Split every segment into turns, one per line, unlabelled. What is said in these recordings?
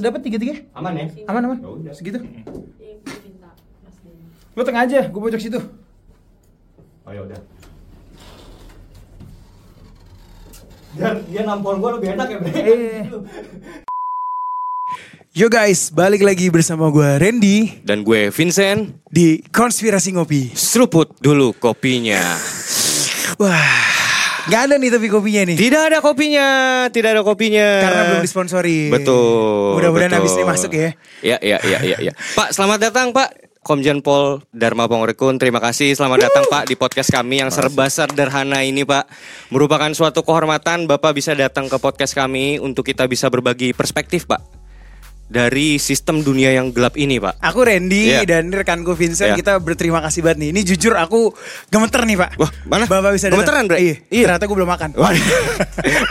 Dapat tiga-tiga?
Aman ya?
Aman aman.
Ya udah.
Segitu.
Iya, gue minta Mas Denny.
Lu tengah aja, gue pojok situ.
Oh ya udah. Dia, dia nampol gua lebih enak ya, Bre.
Eh. Yo guys, balik lagi bersama gue Randy
Dan gue Vincent,
di Konspirasi Ngopi.
seruput dulu kopinya.
Wah, nggak ada nih tapi kopinya nih.
Tidak ada kopinya, tidak ada kopinya.
Karena belum disponsori.
Betul.
Mudah-mudahan
betul.
habis ini masuk ya.
Ya, ya, ya, ya, ya. Pak, selamat datang Pak. Komjen Pol Dharma Pongrekun, terima kasih selamat datang Pak di podcast kami yang serba sederhana ini Pak. Merupakan suatu kehormatan Bapak bisa datang ke podcast kami untuk kita bisa berbagi perspektif Pak. Dari sistem dunia yang gelap ini Pak.
Aku Randy
Iya.
dan rekanku Vincent
Iya.
kita berterima kasih banget nih. Ini jujur aku gemeter nih pak.
Wah, mana?
Bapak bisa datang.
Gemeteran, Bre?
Iya.
Iya.
Ternyata gue belum makan.
Waduh.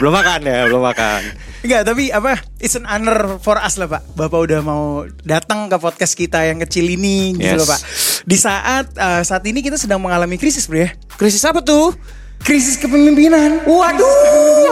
belum makan ya, belum makan.
Enggak, tapi apa? It's an honor for us lah, Pak. Bapak udah mau datang ke podcast kita yang kecil ini gitu
Yes.
loh, Pak. Di saat eh, saat ini kita sedang mengalami krisis, Bro ya.
Krisis apa tuh?
Krisis kepemimpinan.
Waduh,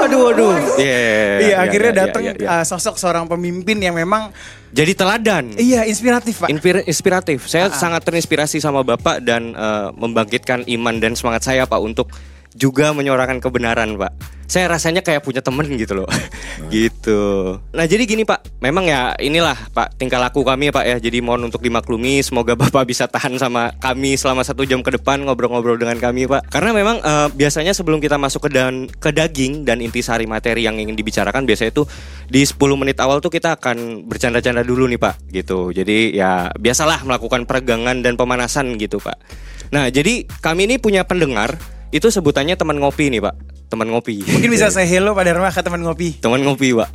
waduh, waduh. Iya,
Iya,
iya,
akhirnya
iya,
datang
iya, iya.
eh, sosok seorang pemimpin yang memang
Jadi teladan.
iya inspiratif, Pak. Ah,
Inspir- inspiratif. Saya sangat terinspirasi sama Bapak dan eh, membangkitkan iman dan semangat saya Pak untuk juga menyuarakan kebenaran Pak. Saya rasanya kayak punya temen gitu loh. gitu. Nah jadi gini Pak, memang ya inilah Pak tingkah laku kami ya Pak ya. Jadi mohon untuk dimaklumi. Semoga Bapak bisa tahan sama kami selama satu jam ke depan ngobrol-ngobrol dengan kami Pak. Karena memang eh, biasanya sebelum kita masuk ke dan ke daging dan intisari materi yang ingin dibicarakan biasanya itu di 10 menit awal tuh kita akan bercanda-canda dulu nih Pak gitu. Jadi ya biasalah melakukan peregangan dan pemanasan gitu Pak. Nah, jadi kami ini punya pendengar itu sebutannya teman ngopi nih Pak. Teman ngopi.
Mungkin bisa saya hello pada rumah ke teman ngopi.
teman ngopi Pak.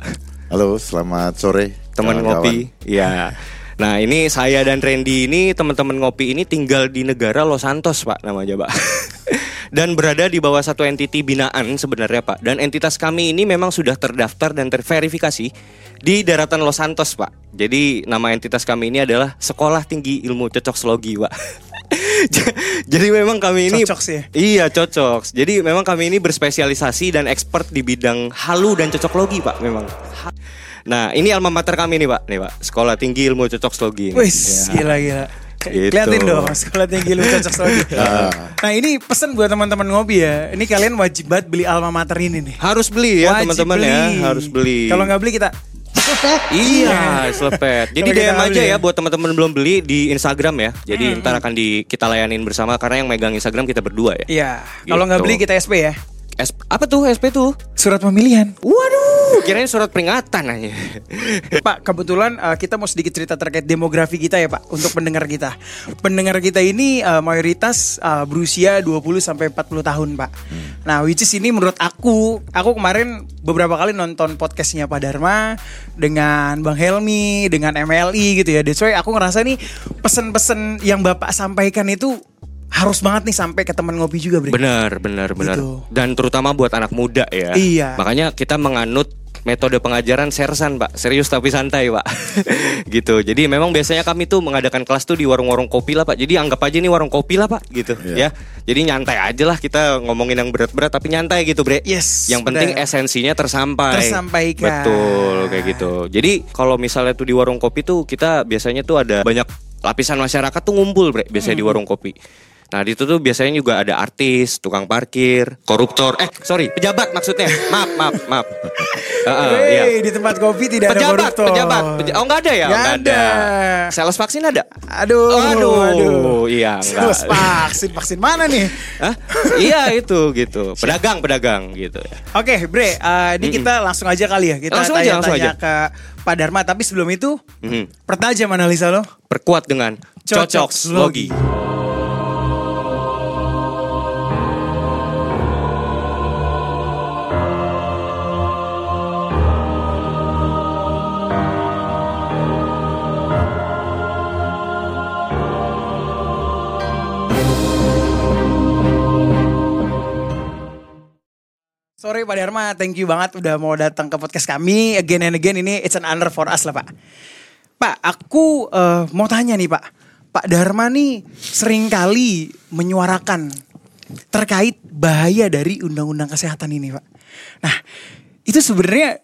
Halo, selamat sore.
Teman
kawan-kawan.
ngopi. Iya. Nah, ini saya dan Randy ini teman-teman ngopi ini tinggal di negara Los Santos Pak namanya Pak. dan berada di bawah satu entiti binaan sebenarnya Pak. Dan entitas kami ini memang sudah terdaftar dan terverifikasi di daratan Los Santos Pak. Jadi nama entitas kami ini adalah Sekolah Tinggi Ilmu Cocok Slogi Pak. Ja- Jadi memang kami ini
Cocoks ya?
Iya cocok. Jadi memang kami ini berspesialisasi dan expert di bidang halu dan cocoklogi pak memang. Ha- Nah ini alma mater kami nih pak, nih pak. Sekolah tinggi ilmu cocoklogi. nih.
Wis,
Ya.
gila gila.
Gitu. Ah.
Keliatin dong sekolah tinggi lu cocok lagi. Nah ini pesan buat teman-teman ngopi ya. Ini kalian wajib banget beli alma mater ini nih.
Harus beli ya
Wajib
teman-teman ya,
beli.
harus beli.
Kalau nggak beli kita
Iya, selepet. Jadi
Kalau kita
DM
nggak
aja
beli. Hmm.
ya buat teman-teman belum beli di Instagram ya. Jadi ntar akan di kita layanin bersama karena yang megang Instagram kita berdua ya.
Iya. Kalau
Gitu.
nggak beli kita SP ya.
S- apa tuh SP tuh?
Surat pemilihan.
Waduh, kirain surat peringatan aja.
Pak, kebetulan eh, kita mau sedikit cerita terkait demografi kita ya, Pak, untuk pendengar kita. Pendengar kita ini eh, mayoritas eh, berusia 20 sampai 40 tahun, Pak.
Hmm.
Nah, which is ini menurut aku, aku kemarin beberapa kali nonton podcastnya Pak Dharma dengan Bang Helmi, dengan MLI gitu ya. That's why aku ngerasa nih pesan-pesan yang Bapak sampaikan itu harus banget nih sampai ke teman ngopi juga, Bre.
Benar, benar, benar.
Gitu.
Dan terutama buat anak muda ya.
Iya.
Makanya kita menganut metode pengajaran sersan, Pak. Serius tapi santai, Pak. gitu. Jadi memang biasanya kami tuh mengadakan kelas tuh di warung-warung kopi lah, Pak. Jadi anggap aja ini warung kopi lah, Pak, gitu ya.
Iya.
Jadi nyantai aja lah kita ngomongin yang berat-berat tapi nyantai gitu, Bre.
Yes,
Yang penting
benar.
esensinya tersampai.
Tersampaikan.
Betul, kayak gitu. Jadi kalau misalnya tuh di warung kopi tuh kita biasanya tuh ada banyak lapisan masyarakat tuh ngumpul, Bre, biasanya di warung kopi. Nah, di situ tuh biasanya juga ada artis, tukang parkir, koruptor. Eh, sorry, pejabat maksudnya. Maaf, maaf, maaf. Heeh, iya.
Wey, di tempat kopi tidak ada
Pejabat,
koruptor.
pejabat. peja- oh, enggak ada ya?
Nggak
Nggak
ada.
Sales vaksin ada?
Aduh,
Aduh, Oh, iya, enggak.
Terus vaksin, vaksin mana nih?
Hah? iya, itu gitu. Pedagang, pedagang gitu ya.
Oke, Bre, eh, ini kita langsung aja kali ya. Kita
Langsung
tanya-tanya
aja, langsung aja.
ke Pak Dharma, tapi sebelum itu
Mhm.
pertajam analisa lo.
Perkuat dengan
Cocok
cocok
slogi.
slogi.
Sorry Pak Dharma, thank you banget udah mau datang ke podcast kami. Again and again ini it's an honor for us lah, Pak. Pak, aku eh, mau tanya nih, Pak. Pak Dharma nih seringkali menyuarakan terkait bahaya dari undang-undang kesehatan ini, Pak. Nah, itu sebenarnya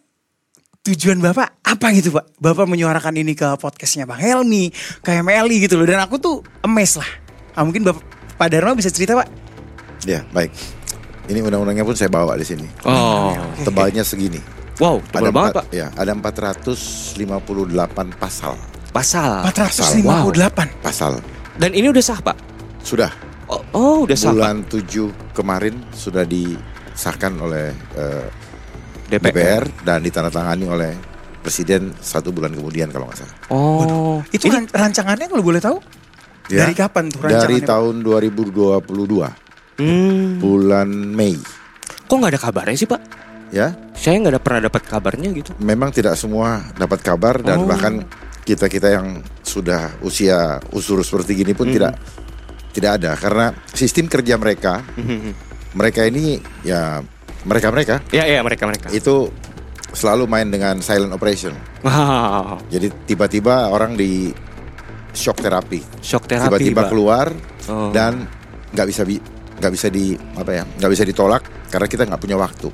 tujuan Bapak apa gitu Pak? Bapak menyuarakan ini ke podcastnya Bang Helmi, ke MLI gitu loh. Dan aku tuh amazed lah. Ah, mungkin Bapak, Pak Dharma bisa cerita Pak?
Ya, baik. Ini undang-undangnya pun saya bawa di sini.
Oh,
Tebalnya segini.
wow, tebal banget pak.
empat- Ya, ada 458 pasal.
Pasal.
458.
Pasal.
Dan ini udah sah pak.
Sudah
Oh, oh, udah sah pak.
bulan 7 kemarin sudah disahkan oleh eh,
DPR.
DPR dan ditandatangani oleh Presiden satu bulan kemudian kalau nggak salah.
Oh,
Itu
ini
ran- rancangannya kalau boleh tahu?
Ya.
Dari kapan tuh rancangannya?
Dari
Pak?
tahun 2022
hmm,
bulan Mei
kok nggak ada kabarnya sih pak?
ya.
Saya nggak ada pernah dapat kabarnya gitu.
Memang tidak semua dapat kabar
Oh.
dan bahkan kita-kita yang sudah usia usur seperti gini pun
Hmm.
tidak tidak ada karena sistem kerja mereka
Hmm.
mereka ini ya mereka-mereka
ya ya mereka mereka.
itu selalu main dengan silent operation.
Wow,
Jadi tiba-tiba orang di shock terapi,
shock terapi
tiba-tiba
Pak.
keluar
Oh.
dan nggak bisa bi- nggak bisa di apa ya nggak bisa ditolak karena kita nggak punya waktu.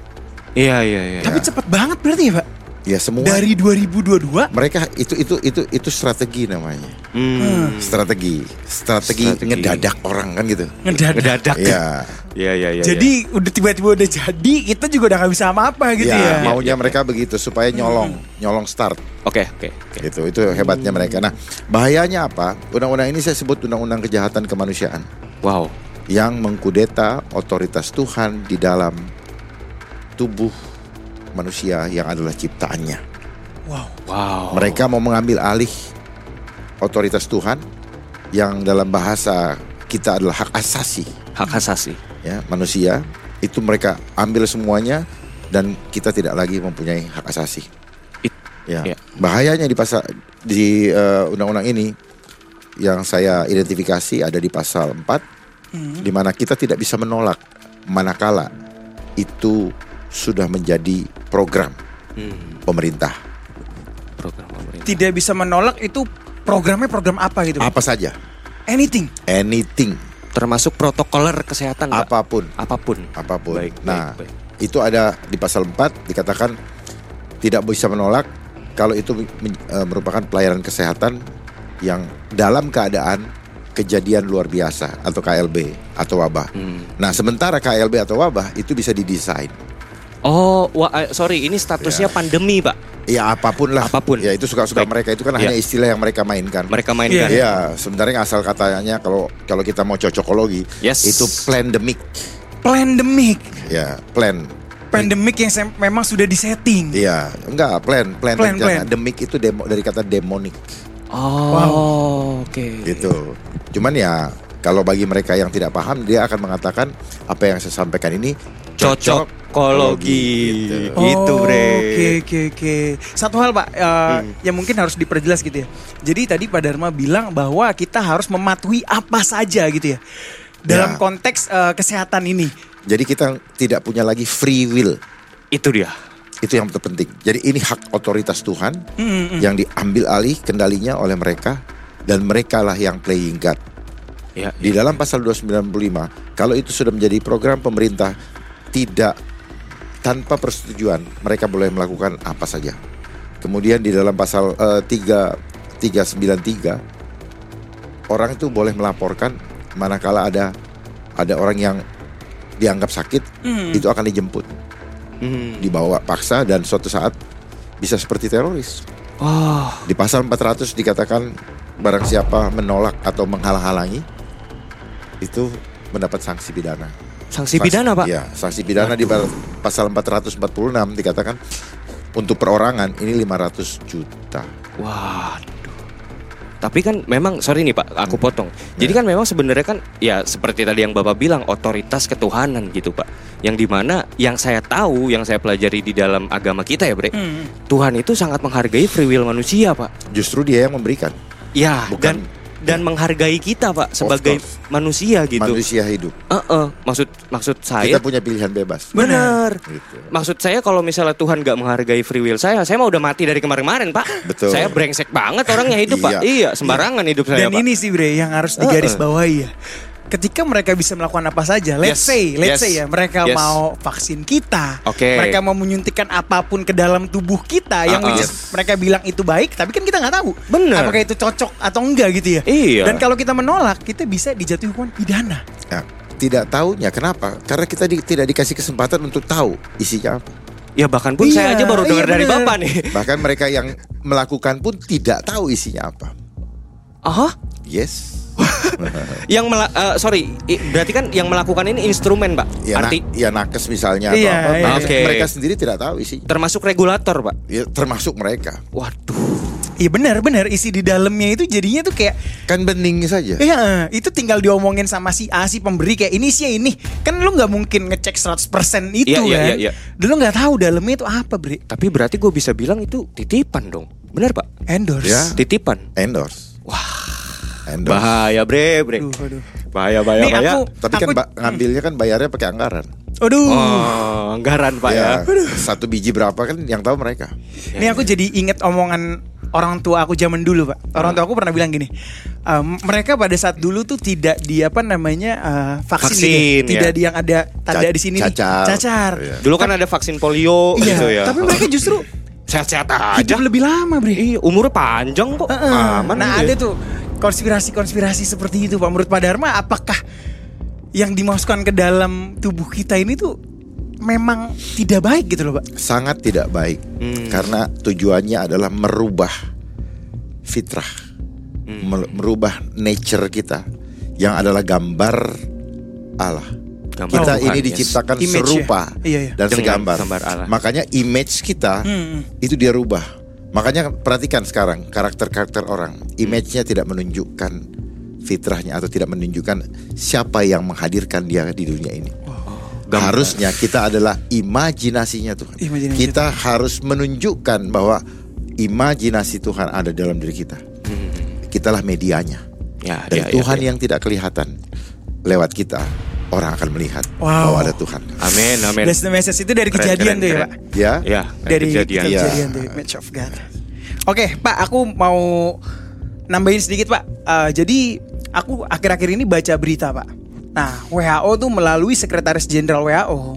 Iya iya iya.
Tapi cepat banget berarti ya Pak?
Ya semua
Dari 2022
mereka itu itu itu itu strategi namanya.
Hmm.
Strategi, strategi,
Strategi.
ngedadak orang kan gitu.
ngedadak.
Ngedadak.
Iya.
Iya iya iya.
Jadi udah tiba-tiba udah jadi, kita juga udah gak bisa apa-apa gitu ya.
ya, maunya mereka begitu supaya nyolong, nyolong start
iya. oke oke. oke.
gitu. Itu hebatnya mereka. Nah, bahayanya apa? Undang-undang ini saya sebut undang-undang kejahatan kemanusiaan.
Wow.
yang mengkudeta otoritas Tuhan di dalam tubuh manusia yang adalah ciptaannya.
Wow.
Wow.
Mereka mau mengambil alih otoritas Tuhan yang dalam bahasa kita adalah hak asasi
hak asasi.
ya manusia. Itu mereka ambil semuanya dan kita tidak lagi mempunyai hak asasi.
It-
Ya.
ya.
Bahayanya di pasal di eh, undang-undang ini yang saya identifikasi ada di pasal 4 di mana kita tidak bisa menolak manakala itu sudah menjadi program
Hmm.
pemerintah
Program pemerintah.
Tidak bisa menolak itu programnya program apa gitu? Pak?
apa saja
Anything.
anything
Termasuk protokoler kesehatan Pak.
apapun
apapun.
apapun
Baik, baik,
nah
baik.
itu ada di pasal 4 dikatakan tidak bisa menolak kalau itu men- eh, merupakan pelayanan kesehatan yang dalam keadaan kejadian luar biasa atau KLB atau wabah.
Hmm.
Nah, sementara KLB atau wabah itu bisa didesain.
Oh, wah, eh, sorry, ini statusnya pandemi, Pak.
Ya apapun lah.
Apapun.
Ya itu suka-suka
Baik.
mereka itu kan
Ya.
hanya istilah yang mereka mainkan.
Mereka mainkan.
Iya, sebenarnya asal katanya kalau kalau kita mau cocokologi
Yes.
itu pandemic.
Pandemic.
Ya, plan.
Pandemic yang sem- memang sudah disetting.
Iya, enggak plan, plan,
Plan, plan.
rencana. Demic itu demo dari kata demonic
Oh,
Wow.
oke.
gitu. Cuman ya kalau bagi mereka yang tidak paham dia akan mengatakan apa yang saya sampaikan ini
Cocokologi.
Gitu.
Oh, Gitu, Bre. Hmm.
Oke, oke, oke. Satu hal, Pak, eh, yang mungkin harus diperjelas gitu ya. Jadi tadi Pak Dharma bilang bahwa kita harus mematuhi apa saja gitu ya. Dalam
Iya.
Ya.
konteks eh, kesehatan ini.
Jadi kita tidak punya lagi free will.
Itu dia.
Itu yang terpenting. Jadi ini hak otoritas Tuhan
Hmm,
yang diambil alih kendalinya oleh mereka dan merekalah yang playing God.
Ya,
Di dalam pasal 295, kalau itu sudah menjadi program pemerintah tidak tanpa persetujuan, mereka boleh melakukan apa saja. Kemudian di dalam pasal eh, 3 393 orang itu boleh melaporkan manakala ada ada orang yang dianggap sakit, itu akan dijemput,
Hmm.
dibawa paksa dan suatu saat bisa seperti teroris.
Oh,
Di pasal 400 dikatakan barang siapa menolak atau menghalang-halangi itu mendapat sanksi pidana.
sanksi pidana, Pak.
Iya, sanksi pidana di par- pasal 446 dikatakan untuk perorangan ini 500 juta.
Waduh. Tapi kan memang sorry nih Pak,
Hmm.
aku potong. Jadi kan memang sebenarnya kan ya seperti tadi yang Bapak bilang otoritas ketuhanan gitu Pak. Yang dimana yang saya tahu, yang saya pelajari di dalam agama kita ya Bre, Tuhan itu sangat menghargai free will manusia Pak.
Justru dia yang memberikan
Ya
Bukan-
dan dan menghargai kita Pak sebagai
course.
manusia gitu.
manusia hidup.
Eh, eh, maksud maksud saya
Kita punya pilihan bebas.
benar.
Gitu.
Maksud saya kalau misalnya Tuhan nggak menghargai free will saya, saya mau udah mati dari kemarin-kemarin Pak.
Betul.
Saya brengsek banget orangnya hidup Pak.
Iya.
Iya sembarangan hidup saya
Dan
Pak.
ini sih, Bre, yang harus digarisbawahi ya. ketika mereka bisa melakukan apa saja, let's
Yes,
say, let's
yes,
say ya, mereka
yes.
mau vaksin kita,
Oke.
mereka mau menyuntikkan apapun ke dalam tubuh kita yang
Uh-uh.
which is mereka bilang itu baik, tapi kan kita nggak tahu,
Bener.
apakah itu cocok atau enggak gitu ya.
Iya.
Dan kalau kita menolak, kita bisa dijatuhi hukuman pidana.
Ya, tidak tahunya kenapa? Karena kita di- tidak dikasih kesempatan untuk tahu isinya apa.
Ya bahkan pun
Iya,
saya aja baru
iya,
dengar dari
bener.
bapak nih.
Bahkan mereka yang melakukan pun tidak tahu isinya apa.
Ah,
Yes.
yang mela- eh, sorry, i- berarti kan yang melakukan ini instrumen, Pak.
Ya,
nah.
na-
Arti
ya nakes misalnya atau
Iya,
apa?
iya.
Mereka,
Oke.
mereka sendiri tidak tahu isinya.
termasuk regulator, Pak.
Ya, termasuk mereka.
Waduh.
Iya benar, benar isi di dalamnya itu jadinya tuh kayak
Kan bening saja.
Iya, itu tinggal diomongin sama si A si pemberi kayak ini sih ini. Kan lu nggak mungkin ngecek 100% itu
Iya,
kan.
iya, iya, iya.
Dan lu nggak tahu dalamnya itu apa, Bre.
Tapi berarti gue bisa bilang itu titipan dong. Benar, Pak?
Endorse.
Ya.
Titipan.
Endorse. Wah. Endorse.
Bahaya, Bre, Bre.
Aduh, aduh.
Bahaya, bahaya,
Nih,
bahaya.
aku
Tapi kan
Aku-
ba- ngambilnya kan bayarnya pakai anggaran.
Aduh.
Oh, anggaran, Pak
Iya.
ya.
Ya, satu biji berapa kan yang tahu mereka.
Ini aku jadi inget omongan orang tua aku zaman dulu, Pak. Orang tua aku pernah bilang gini, "Em, mereka pada saat dulu tuh tidak di apa namanya eh, vaksin, gitu
Vaksin,
ya. tidak
ya.
di yang ada tanda
Ca-
di sini nih,
cacar.
cacar.
Iya.
Dulu kan ada vaksin polio
Iya,
gitu ya.
tapi mereka justru
sehat-sehat
hidup
aja.
lebih lama, Bre.
Iya, umurnya panjang kok.
Heeh.
Aman.
nah
Ah,
ada
dia.
tuh konspirasi-konspirasi seperti itu Pak. Menurut Pak Dharma apakah yang dimasukkan ke dalam tubuh kita ini tuh memang tidak baik gitu loh Pak?
Sangat tidak baik
Hmm.
karena tujuannya adalah merubah fitrah, mer- merubah nature kita yang adalah gambar Allah.
Gambar
kita
Tuhan,
ini
yes.
dinciptakan
Image ya.
serupa
Iya, iya.
dan
Dengan
segambar.
gambar Allah.
Makanya image kita
Hmm.
itu dia rubah. Makanya perhatikan sekarang karakter-karakter orang, image-nya tidak menunjukkan fitrahnya atau tidak menunjukkan siapa yang menghadirkan dia di dunia ini.
Gambar.
Harusnya kita adalah imajinasinya Tuhan.
Imajinasi
kita harus menunjukkan bahwa imajinasi Tuhan ada dalam diri kita. Kitalah medianya.
Hmm. Ya,
Dan
ya, ya,
Tuhan
ya.
yang tidak kelihatan lewat kita orang akan melihat
Wow.
bahwa ada Tuhan.
Amin, amin.
That's the message itu dari
Keren,
kejadian
keren,
tuh ya
keren.
Pak.
Ya.
Ya,
Dari kejadian,
Iya.
tuh, Match of God. Oke Pak, aku mau nambahin sedikit Pak. Eh, jadi aku akhir-akhir ini baca berita Pak. Nah WHO tuh melalui Sekretaris Jenderal WHO,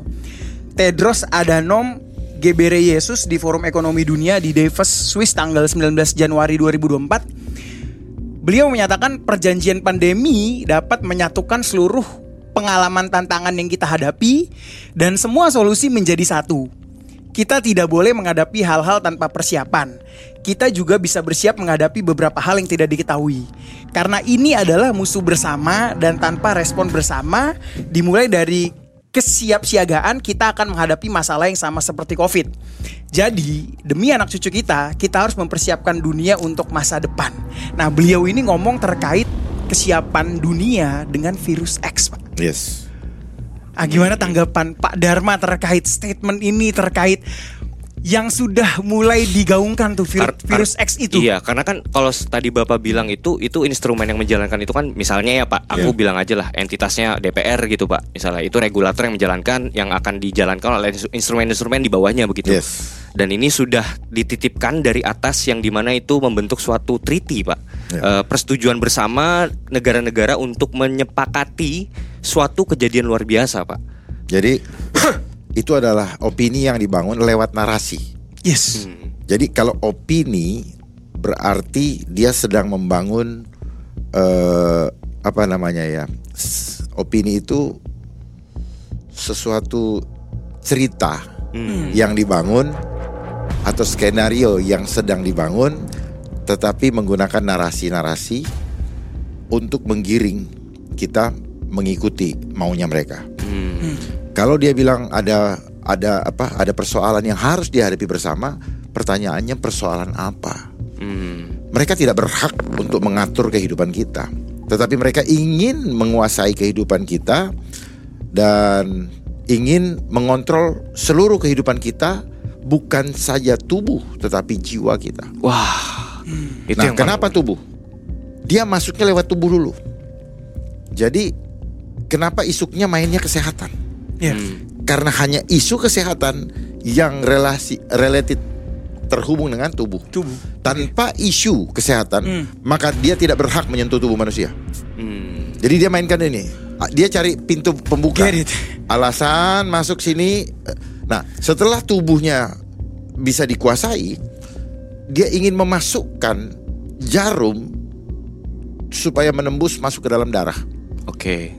Tedros Adhanom Ghebreyesus di Forum Ekonomi Dunia di Davos, Swiss tanggal 19 Januari 2024 Beliau menyatakan perjanjian pandemi dapat menyatukan seluruh pengalaman tantangan yang kita hadapi dan semua solusi menjadi satu. Kita tidak boleh menghadapi hal-hal tanpa persiapan. Kita juga bisa bersiap menghadapi beberapa hal yang tidak diketahui. Karena ini adalah musuh bersama dan tanpa respon bersama dimulai dari kesiapsiagaan kita akan menghadapi masalah yang sama seperti COVID. Jadi, demi anak cucu kita, kita harus mempersiapkan dunia untuk masa depan. Nah, beliau ini ngomong terkait kesiapan dunia dengan virus X, Pak.
Yes.
Ah, gimana tanggapan Pak Dharma terkait statement ini terkait yang sudah mulai digaungkan tuh vir-
Ar- ar-
virus X itu?
Iya, karena kan kalau s- tadi Bapak bilang itu itu instrumen yang menjalankan itu kan misalnya ya Pak, aku
Iya.
bilang aja lah entitasnya DPR gitu Pak. Misalnya itu regulator yang menjalankan yang akan dijalankan oleh instru- instrumen-instrumen di bawahnya begitu.
Yes.
Dan ini sudah dititipkan dari atas yang dimana itu membentuk suatu treaty Pak.
Iya.
Ya.
Eh, persetujuan bersama negara-negara untuk menyepakati suatu kejadian luar biasa Pak.
Jadi itu adalah opini yang dibangun lewat narasi.
Yes.
Hmm.
Jadi kalau opini berarti dia sedang membangun eh, apa namanya ya? S- Opini itu sesuatu cerita yang dibangun atau skenario yang sedang dibangun tetapi menggunakan narasi-narasi untuk menggiring kita mengikuti maunya mereka.
Hmm.
Kalau dia bilang ada ada apa? Ada persoalan yang harus dihadapi bersama, pertanyaannya persoalan apa?
Hmm.
Mereka tidak berhak untuk mengatur kehidupan kita, tetapi mereka ingin menguasai kehidupan kita dan ingin mengontrol seluruh kehidupan kita bukan saja tubuh tetapi jiwa kita.
Wah. Itu
nah,
yang
kenapa tubuh? Dia masuknya lewat tubuh dulu. Jadi kenapa isuknya mainnya kesehatan?
Iya.
Hmm.
karena hanya isu kesehatan yang relasi related terhubung dengan tubuh.
Tubuh.
Tanpa isu kesehatan,
Hmm.
maka dia tidak berhak menyentuh tubuh manusia.
Hmm.
Jadi dia mainkan ini. Ah, Dia cari pintu pembuka.
Get it.
Alasan masuk sini. eh, Nah, setelah tubuhnya bisa dikuasai, dia ingin memasukkan jarum supaya menembus masuk ke dalam darah.
Oke.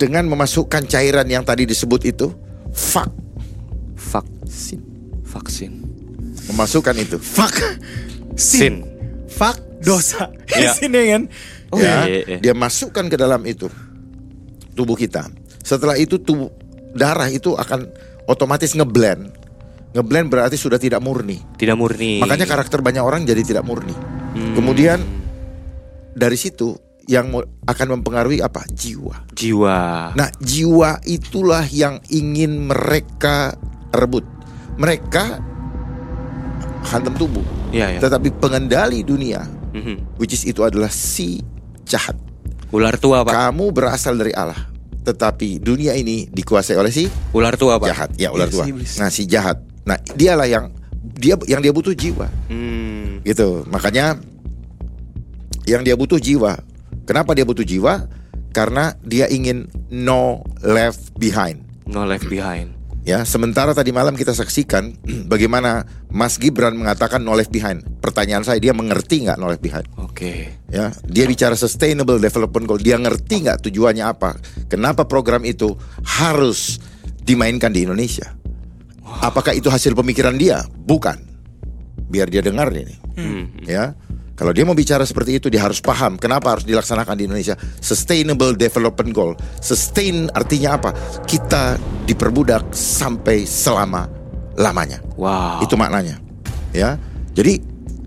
Dengan memasukkan cairan yang tadi disebut itu, fuck,
Vaksin. Vaksin.
memasukkan itu.
Fuck.
Sin.
Sin. Fuck dosa.
Iya.
Sin ya kan?
Oh,
ya,
iya, iya.
dia masukkan ke dalam itu tubuh kita. Setelah itu tubuh darah itu akan otomatis ngeblend. Ngeblend berarti sudah tidak murni.
Tidak murni. Hmm.
Makanya karakter banyak orang jadi tidak murni. Kemudian dari situ yang mu- akan mempengaruhi apa? Jiwa.
jiwa.
Nah, jiwa itulah yang ingin mereka rebut. Mereka hantam tubuh.
Iya, iya.
Tetapi pengendali dunia,
Mhm.
which is itu adalah si jahat.
Ular tua, Pak.
Kamu berasal dari Allah, tetapi dunia ini dikuasai oleh si
Ular tua, Pak.
jahat. Ya ular
Iya,
tua.
si iblis.
Nah si jahat. Nah dialah yang dia yang dia butuh jiwa.
Hmm.
Gitu. Makanya yang dia butuh jiwa. Kenapa dia butuh jiwa? Karena dia ingin no left behind.
No left behind.
Ya, sementara tadi malam kita saksikan bagaimana Mas Gibran mengatakan no left behind. Pertanyaan saya dia mengerti nggak no left behind?
Oke.
ya dia bicara sustainable development goal dia ngerti nggak tujuannya apa kenapa program itu harus dimainkan di Indonesia apakah itu hasil pemikiran dia bukan biar dia dengar ini
Hmm.
Hmm.
ya kalau dia mau bicara seperti itu dia harus paham kenapa harus dilaksanakan di Indonesia sustainable development goal sustain artinya apa kita diperbudak sampai selama lamanya
Wow.
itu maknanya ya jadi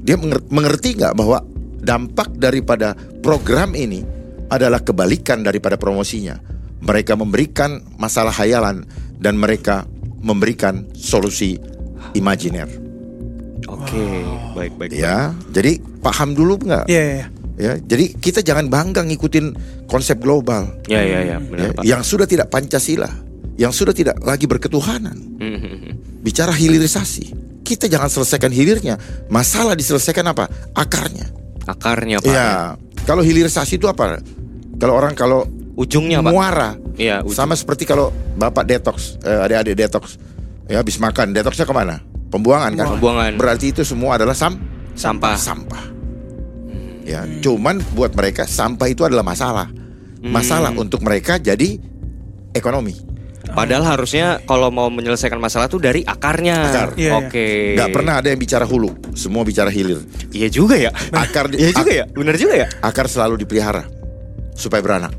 dia menger- mengerti nggak bahwa dampak daripada program ini adalah kebalikan daripada promosinya mereka memberikan masalah hayalan dan mereka memberikan solusi imajiner
Oke. Baik, baik. baik.
ya jadi paham dulu nggak
Iya, iya. iya.
ya jadi kita jangan bangga ngikutin konsep global
Ya, ya, ya, benar,
ya,
Pak.
yang sudah tidak pancasila yang sudah tidak lagi berketuhanan
Mhm.
bicara hilirisasi. Kita jangan selesaikan hilirnya. Masalah diselesaikan apa? Akarnya.
Akarnya, Pak.
Iya. Kalau hilirisasi itu apa? Kalau orang kalau
Ujungnya, Pak.
muara,
Iya, ujung.
sama seperti kalau bapak detox, eh, adik-adik detox, ya habis makan, detoxnya kemana? Pembuangan kan?
Pembuangan.
Berarti itu semua adalah sam
Sampah. Hmm.
Sampah. Ya, cuman buat mereka sampah itu adalah masalah.
Hmm.
Masalah untuk mereka jadi ekonomi.
Padahal harusnya kalau mau menyelesaikan masalah tuh dari akarnya.
Akar.
Oke.
Iya, iya.
Gak pernah ada yang bicara hulu, semua bicara hilir.
Iya juga ya.
Akar
Iya juga ya. Benar juga ya.
akar selalu dipelihara supaya beranak,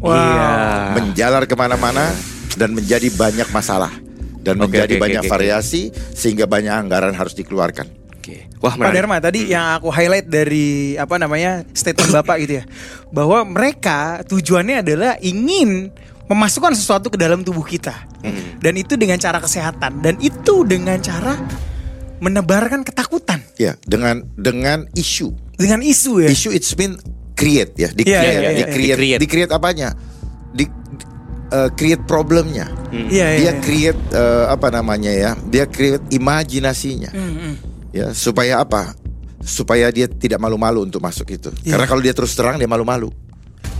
Wow.
Iya.
Ah.
menjalar kemana-mana dan menjadi banyak masalah dan
Oke,
menjadi
oke, oke,
banyak
oke, oke.
variasi sehingga banyak anggaran harus dikeluarkan.
Oke. Wah,
Pak
menarik. Hmm.
Dharma tadi yang aku highlight dari apa namanya statement Bapak gitu ya bahwa mereka tujuannya adalah ingin memasukkan sesuatu ke dalam tubuh kita
Hmm.
dan itu dengan cara kesehatan dan itu dengan cara menebarkan ketakutan
Ya, dengan dengan isu.
dengan isu ya
Isu it's been create ya, di
Iya,
create,
iya, iya,
di
iya.
create,
Di-create.
di create apanya? Di eh, create problemnya.
Iya,
Hmm.
iya,
Dia
iya.
create eh, apa namanya ya? Dia create imajinasinya.
Hmm.
Ya, supaya apa? Supaya dia tidak malu-malu untuk masuk itu.
Iya.
Karena kalau dia terus terang dia malu-malu.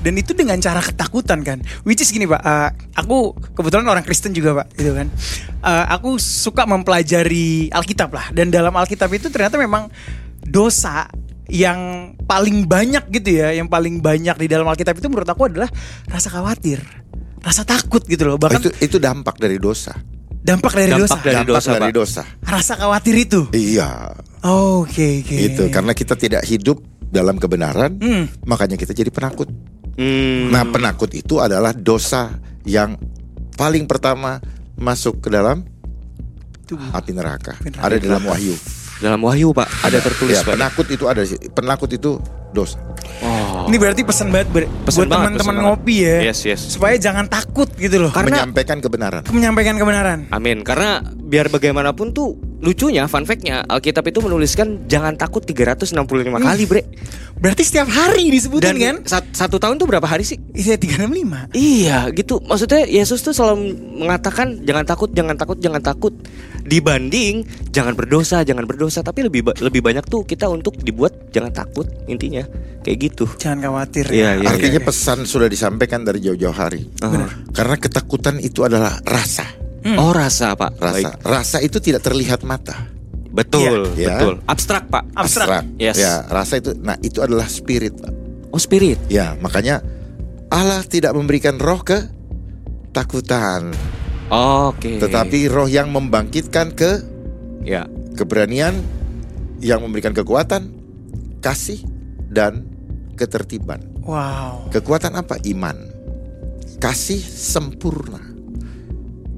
dan itu dengan cara ketakutan kan which is gini pak eh, aku kebetulan orang Kristen juga pak gitu kan Eh, aku suka mempelajari Alkitab lah dan dalam Alkitab itu ternyata memang dosa yang paling banyak gitu ya yang paling banyak di dalam Alkitab itu menurut aku adalah rasa khawatir rasa takut gitu loh
Oh,
bahkan
itu itu dampak dari dosa.
dampak dari
Dampak
dosa
dari
dampak
dosa, Pak.
dari dosa.
rasa khawatir itu
Iya,
Oh, oke oke
itu karena kita tidak hidup dalam kebenaran, makanya kita jadi penakut.
Hmm.
Nah, penakut itu adalah dosa yang paling pertama masuk ke dalam
Tubuh.
api neraka.
Api neraka.
Ada di dalam wahyu.
Dalam Wahyu, Pak, ada tertulis,
Ya,
Pak.
penakut itu ada di situ. penakut itu dosa.
Oh.
ini berarti pesan banget ber- buat
Pesan banget,
teman-teman
pesan
ngopi ya
banget. Yes, yes.
supaya jangan takut gitu loh
menyampaikan kebenaran.
menyampaikan kebenaran
Amin. Karena biar bagaimanapun tuh lucunya, fun fact-nya Alkitab itu menuliskan jangan takut 365 kali, Bre.
Berarti setiap hari disebutin
Dan
kan?
sat- satu tahun tuh berapa hari sih?
Iya 365.
Iya, gitu. Maksudnya Yesus tuh selalu mengatakan jangan takut, jangan takut, jangan takut. Dibanding jangan berdosa, jangan berdosa, tapi lebih ba- lebih banyak tuh kita untuk dibuat jangan takut intinya kayak gitu.
Jangan khawatir. ya.
Iya, iya,
Artinya pesan sudah disampaikan dari jauh-jauh hari. Karena ketakutan itu adalah rasa.
Oh rasa pak,
Rasa.
Baik.
Rasa itu tidak terlihat mata.
betul,
Iya.
betul, abstrak pak.
Abstrak.
Yes.
Ya, rasa itu nah itu adalah spirit. Pak.
Oh spirit.
Ya, makanya Allah tidak memberikan roh ke takutan,
Oke.
tetapi roh yang membangkitkan ke
ya
keberanian yang memberikan kekuatan, kasih dan ketertiban.
Wow.
Kekuatan apa? Iman. Kasih sempurna.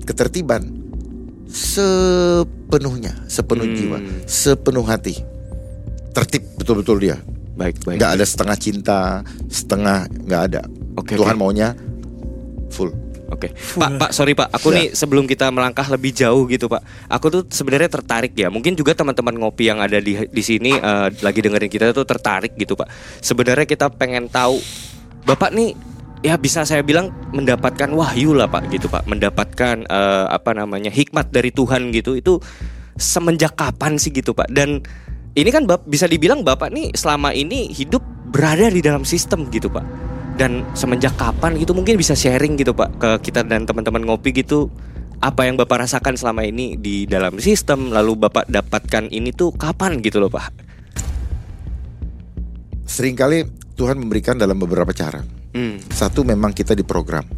Ketertiban sepenuhnya, sepenuh
Hmm.
jiwa, sepenuh hati. Tertib betul-betul dia.
baik baik.
Nggak ada setengah cinta, setengah nggak ada.
Oke,
Tuhan
oke.
maunya full.
Oke, Pak, Pak, sorry Pak, aku
Ya.
nih sebelum kita melangkah lebih jauh gitu Pak, aku tuh sebenarnya tertarik ya. Mungkin juga teman-teman ngopi yang ada di di sini eh, lagi dengerin kita tuh tertarik gitu Pak. Sebenarnya kita pengen tahu Bapak nih ya bisa saya bilang mendapatkan wahyu lah Pak gitu Pak, mendapatkan eh, apa namanya hikmat dari Tuhan gitu itu semenjak kapan sih gitu Pak? Dan ini kan Bap- bisa dibilang Bapak nih selama ini hidup berada di dalam sistem gitu Pak dan semenjak kapan gitu mungkin bisa sharing gitu pak ke kita dan teman-teman ngopi gitu apa yang bapak rasakan selama ini di dalam sistem lalu bapak dapatkan ini tuh kapan gitu loh pak
Seringkali Tuhan memberikan dalam beberapa cara.
hmm,
Satu memang kita diprogram,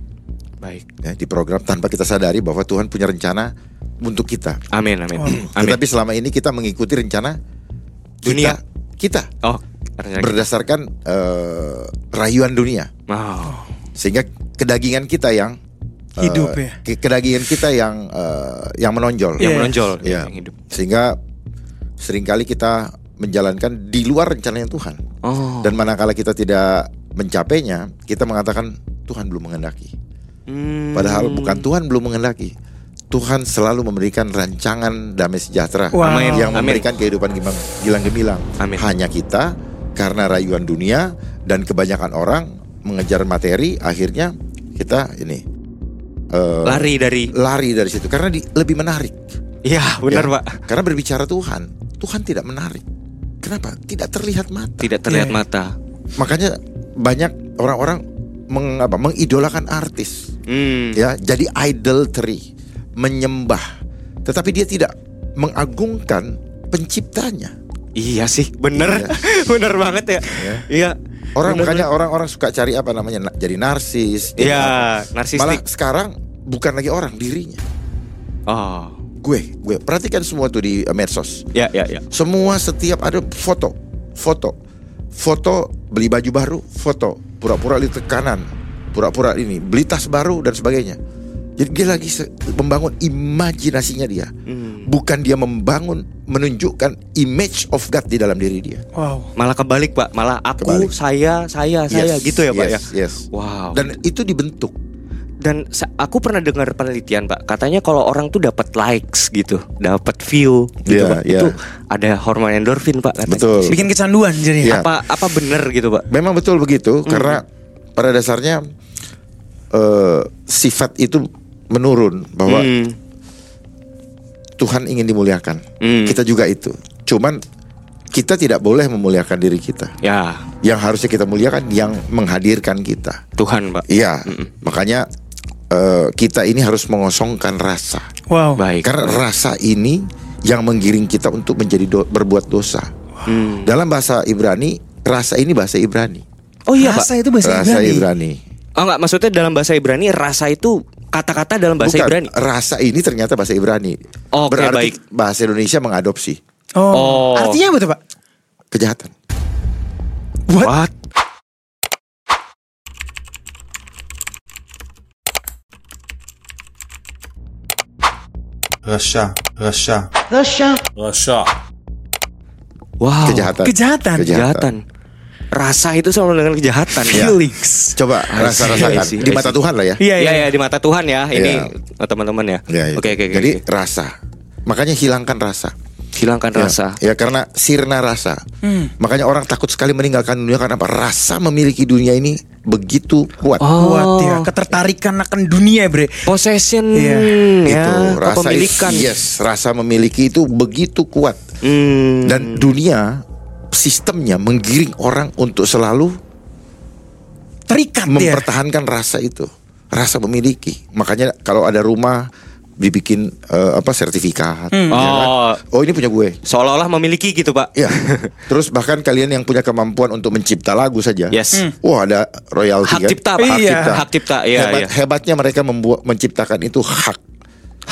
baik
ya, diprogram tanpa kita sadari bahwa Tuhan punya rencana untuk kita.
amin amin amin
Tetapi selama ini kita mengikuti rencana
Dunia.
kita- kita
oh ternyata-
berdasarkan eh, rayuan dunia
Wow.
sehingga kedagingan kita yang eh,
Hidup ya.
ke- kedagingan kita yang eh, yang menonjol
Iya.
yang menonjol
Iya.
yang hidup
sehingga seringkali kita menjalankan di luar rencananya Tuhan
oh
dan manakala kita tidak mencapainya kita mengatakan Tuhan belum menghendaki
Hmm.
padahal bukan Tuhan belum menghendaki Tuhan selalu memberikan rancangan damai sejahtera
Wow.
Amin.
yang
Amin.
memberikan kehidupan gimbang- gilang gemilang.
Amin.
Hanya kita karena rayuan dunia dan kebanyakan orang mengejar materi, akhirnya kita ini eh,
lari dari
lari dari situ karena di- lebih menarik.
iya benar
Ya.
pak
Karena berbicara Tuhan, Tuhan tidak menarik. Kenapa? Tidak terlihat mata.
tidak terlihat
Iya.
mata
Makanya banyak orang-orang meng- apa, mengidolakan artis
hmm.
ya jadi idolatry menyembah tetapi dia tidak mengagungkan penciptanya
iya sih bener bener banget ya
Iya.
iya
orang
Bener,
makanya orang-orang suka cari apa namanya na- jadi narsis jadi
iya
apa. malah
narsistik
sekarang bukan lagi orang dirinya
oh
gue gue perhatikan semua tuh di eh, medsos
ya ya ya
semua setiap ada foto foto foto beli baju baru foto pura-pura lihat ke kanan pura-pura ini beli tas baru dan sebagainya jadi dia lagi se- membangun imajinasinya dia
Hmm.
bukan dia membangun menunjukkan image of God di dalam diri dia
Wow.
Malah kebalik pak, malah aku,
Kebalik.
saya, saya, saya
Yes,
gitu ya pak
yes,
ya.
yes.
Wow. Dan
dan itu dibentuk
dan sa- aku pernah dengar penelitian pak, katanya kalau orang tuh dapat likes gitu, dapat view gitu
Iya,
pak,
iya.
itu ada hormon endorfin pak. Katanya.
Betul.
Bikin kecanduan jadinya.
Iya.
Apa apa bener gitu pak?
Memang betul begitu
Mm-hmm.
karena pada dasarnya eh, sifat itu menurun bahwa
Hmm.
Tuhan ingin dimuliakan.
Hmm.
Kita juga itu. Cuman kita tidak boleh memuliakan diri kita.
Ya
Yang harusnya kita muliakan yang menghadirkan kita.
Tuhan pak.
Iya,
Hmm.
makanya eh, kita ini harus mengosongkan rasa.
Wow.
Baik.
Karena rasa ini yang menggiring kita untuk menjadi do- berbuat dosa.
Hmm.
Dalam bahasa Ibrani, rasa ini bahasa Ibrani.
Oh iya
Rasa
pak.
itu bahasa
rasa
Ibrani.
Oh nggak maksudnya dalam bahasa Ibrani rasa itu kata-kata dalam bahasa
Bukan,
Ibrani.
Rasa ini ternyata bahasa Ibrani.
Oke,
Berarti
baik.
bahasa Indonesia mengadopsi
Oh.
Oh.
Artinya apa tuh pak?
kejahatan.
What?
What?
רשע, רשע, רשע.
Wow.
Kejahatan.
Oh, Kejahatan.
Kejahatan. Rasa itu sama dengan kejahatan.
Iya.
ya.
Felix.
Coba
I see,
rasa-rasakan di
I
mata
see.
Tuhan lah ya.
Iya
Iya,
iya.
iya, di mata Tuhan ya ini oh, teman-teman ya.
Ya, ya.
Oke, oke, oke.
Jadi
oke.
rasa. Makanya hilangkan rasa.
hilangkan
Ya,
rasa.
Ya, karena
Hmm.
sirna rasa. Makanya orang takut sekali meninggalkan dunia karena apa? Rasa memiliki dunia ini begitu kuat.
Kuat
Oh.
ya, ketertarikan akan dunia, Bre.
Possession
Iya.
ya,
itu Gitu. rasa
kepemilikan.
yes, rasa memiliki itu begitu kuat.
Hmm,
Dan dunia sistemnya menggiring orang untuk selalu
Terikat ya.
mempertahankan rasa itu, rasa memiliki. Makanya kalau ada rumah dibikin eh, apa sertifikat, ya kan?
Oh.
oh ini punya gue.
seolah-olah memiliki gitu, Pak.
Ya, terus bahkan kalian yang punya kemampuan untuk mencipta lagu saja,
Yes.
wah ada royalti
Hak
kan?
cipta, Pak.
Iya.
Hak cipta, iya,
Hebat-
iya.
Hebatnya mereka membuat menciptakan itu hak,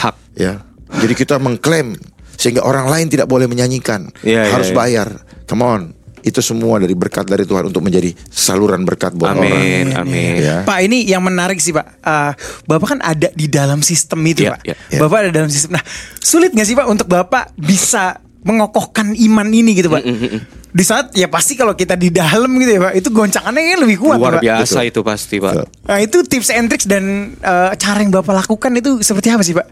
Hak.
ya. Jadi kita mengklaim sehingga orang lain tidak boleh menyanyikan,
Iya, iya, iya.
harus bayar. Come on, itu semua dari berkat dari Tuhan untuk menjadi saluran berkat buat orang.
Amin, amin.
Ya.
Iya, Pak ini yang menarik sih Pak, Eh, Bapak kan ada di dalam sistem itu
Iya,
Pak.
iya,
iya.
Bapak ada dalam sistem. Nah sulit nggak sih Pak untuk Bapak bisa mengokohkan iman ini gitu
Iya.
Hmm,
Pak? Di saat ya pasti kalau kita di dalam gitu ya Pak, itu goncangannya kayaknya lebih kuat
Luar
Pak.
biasa itu pasti, Pak.
Betul.
Nah itu tips and tricks dan eh, cara yang Bapak lakukan itu seperti apa sih Pak?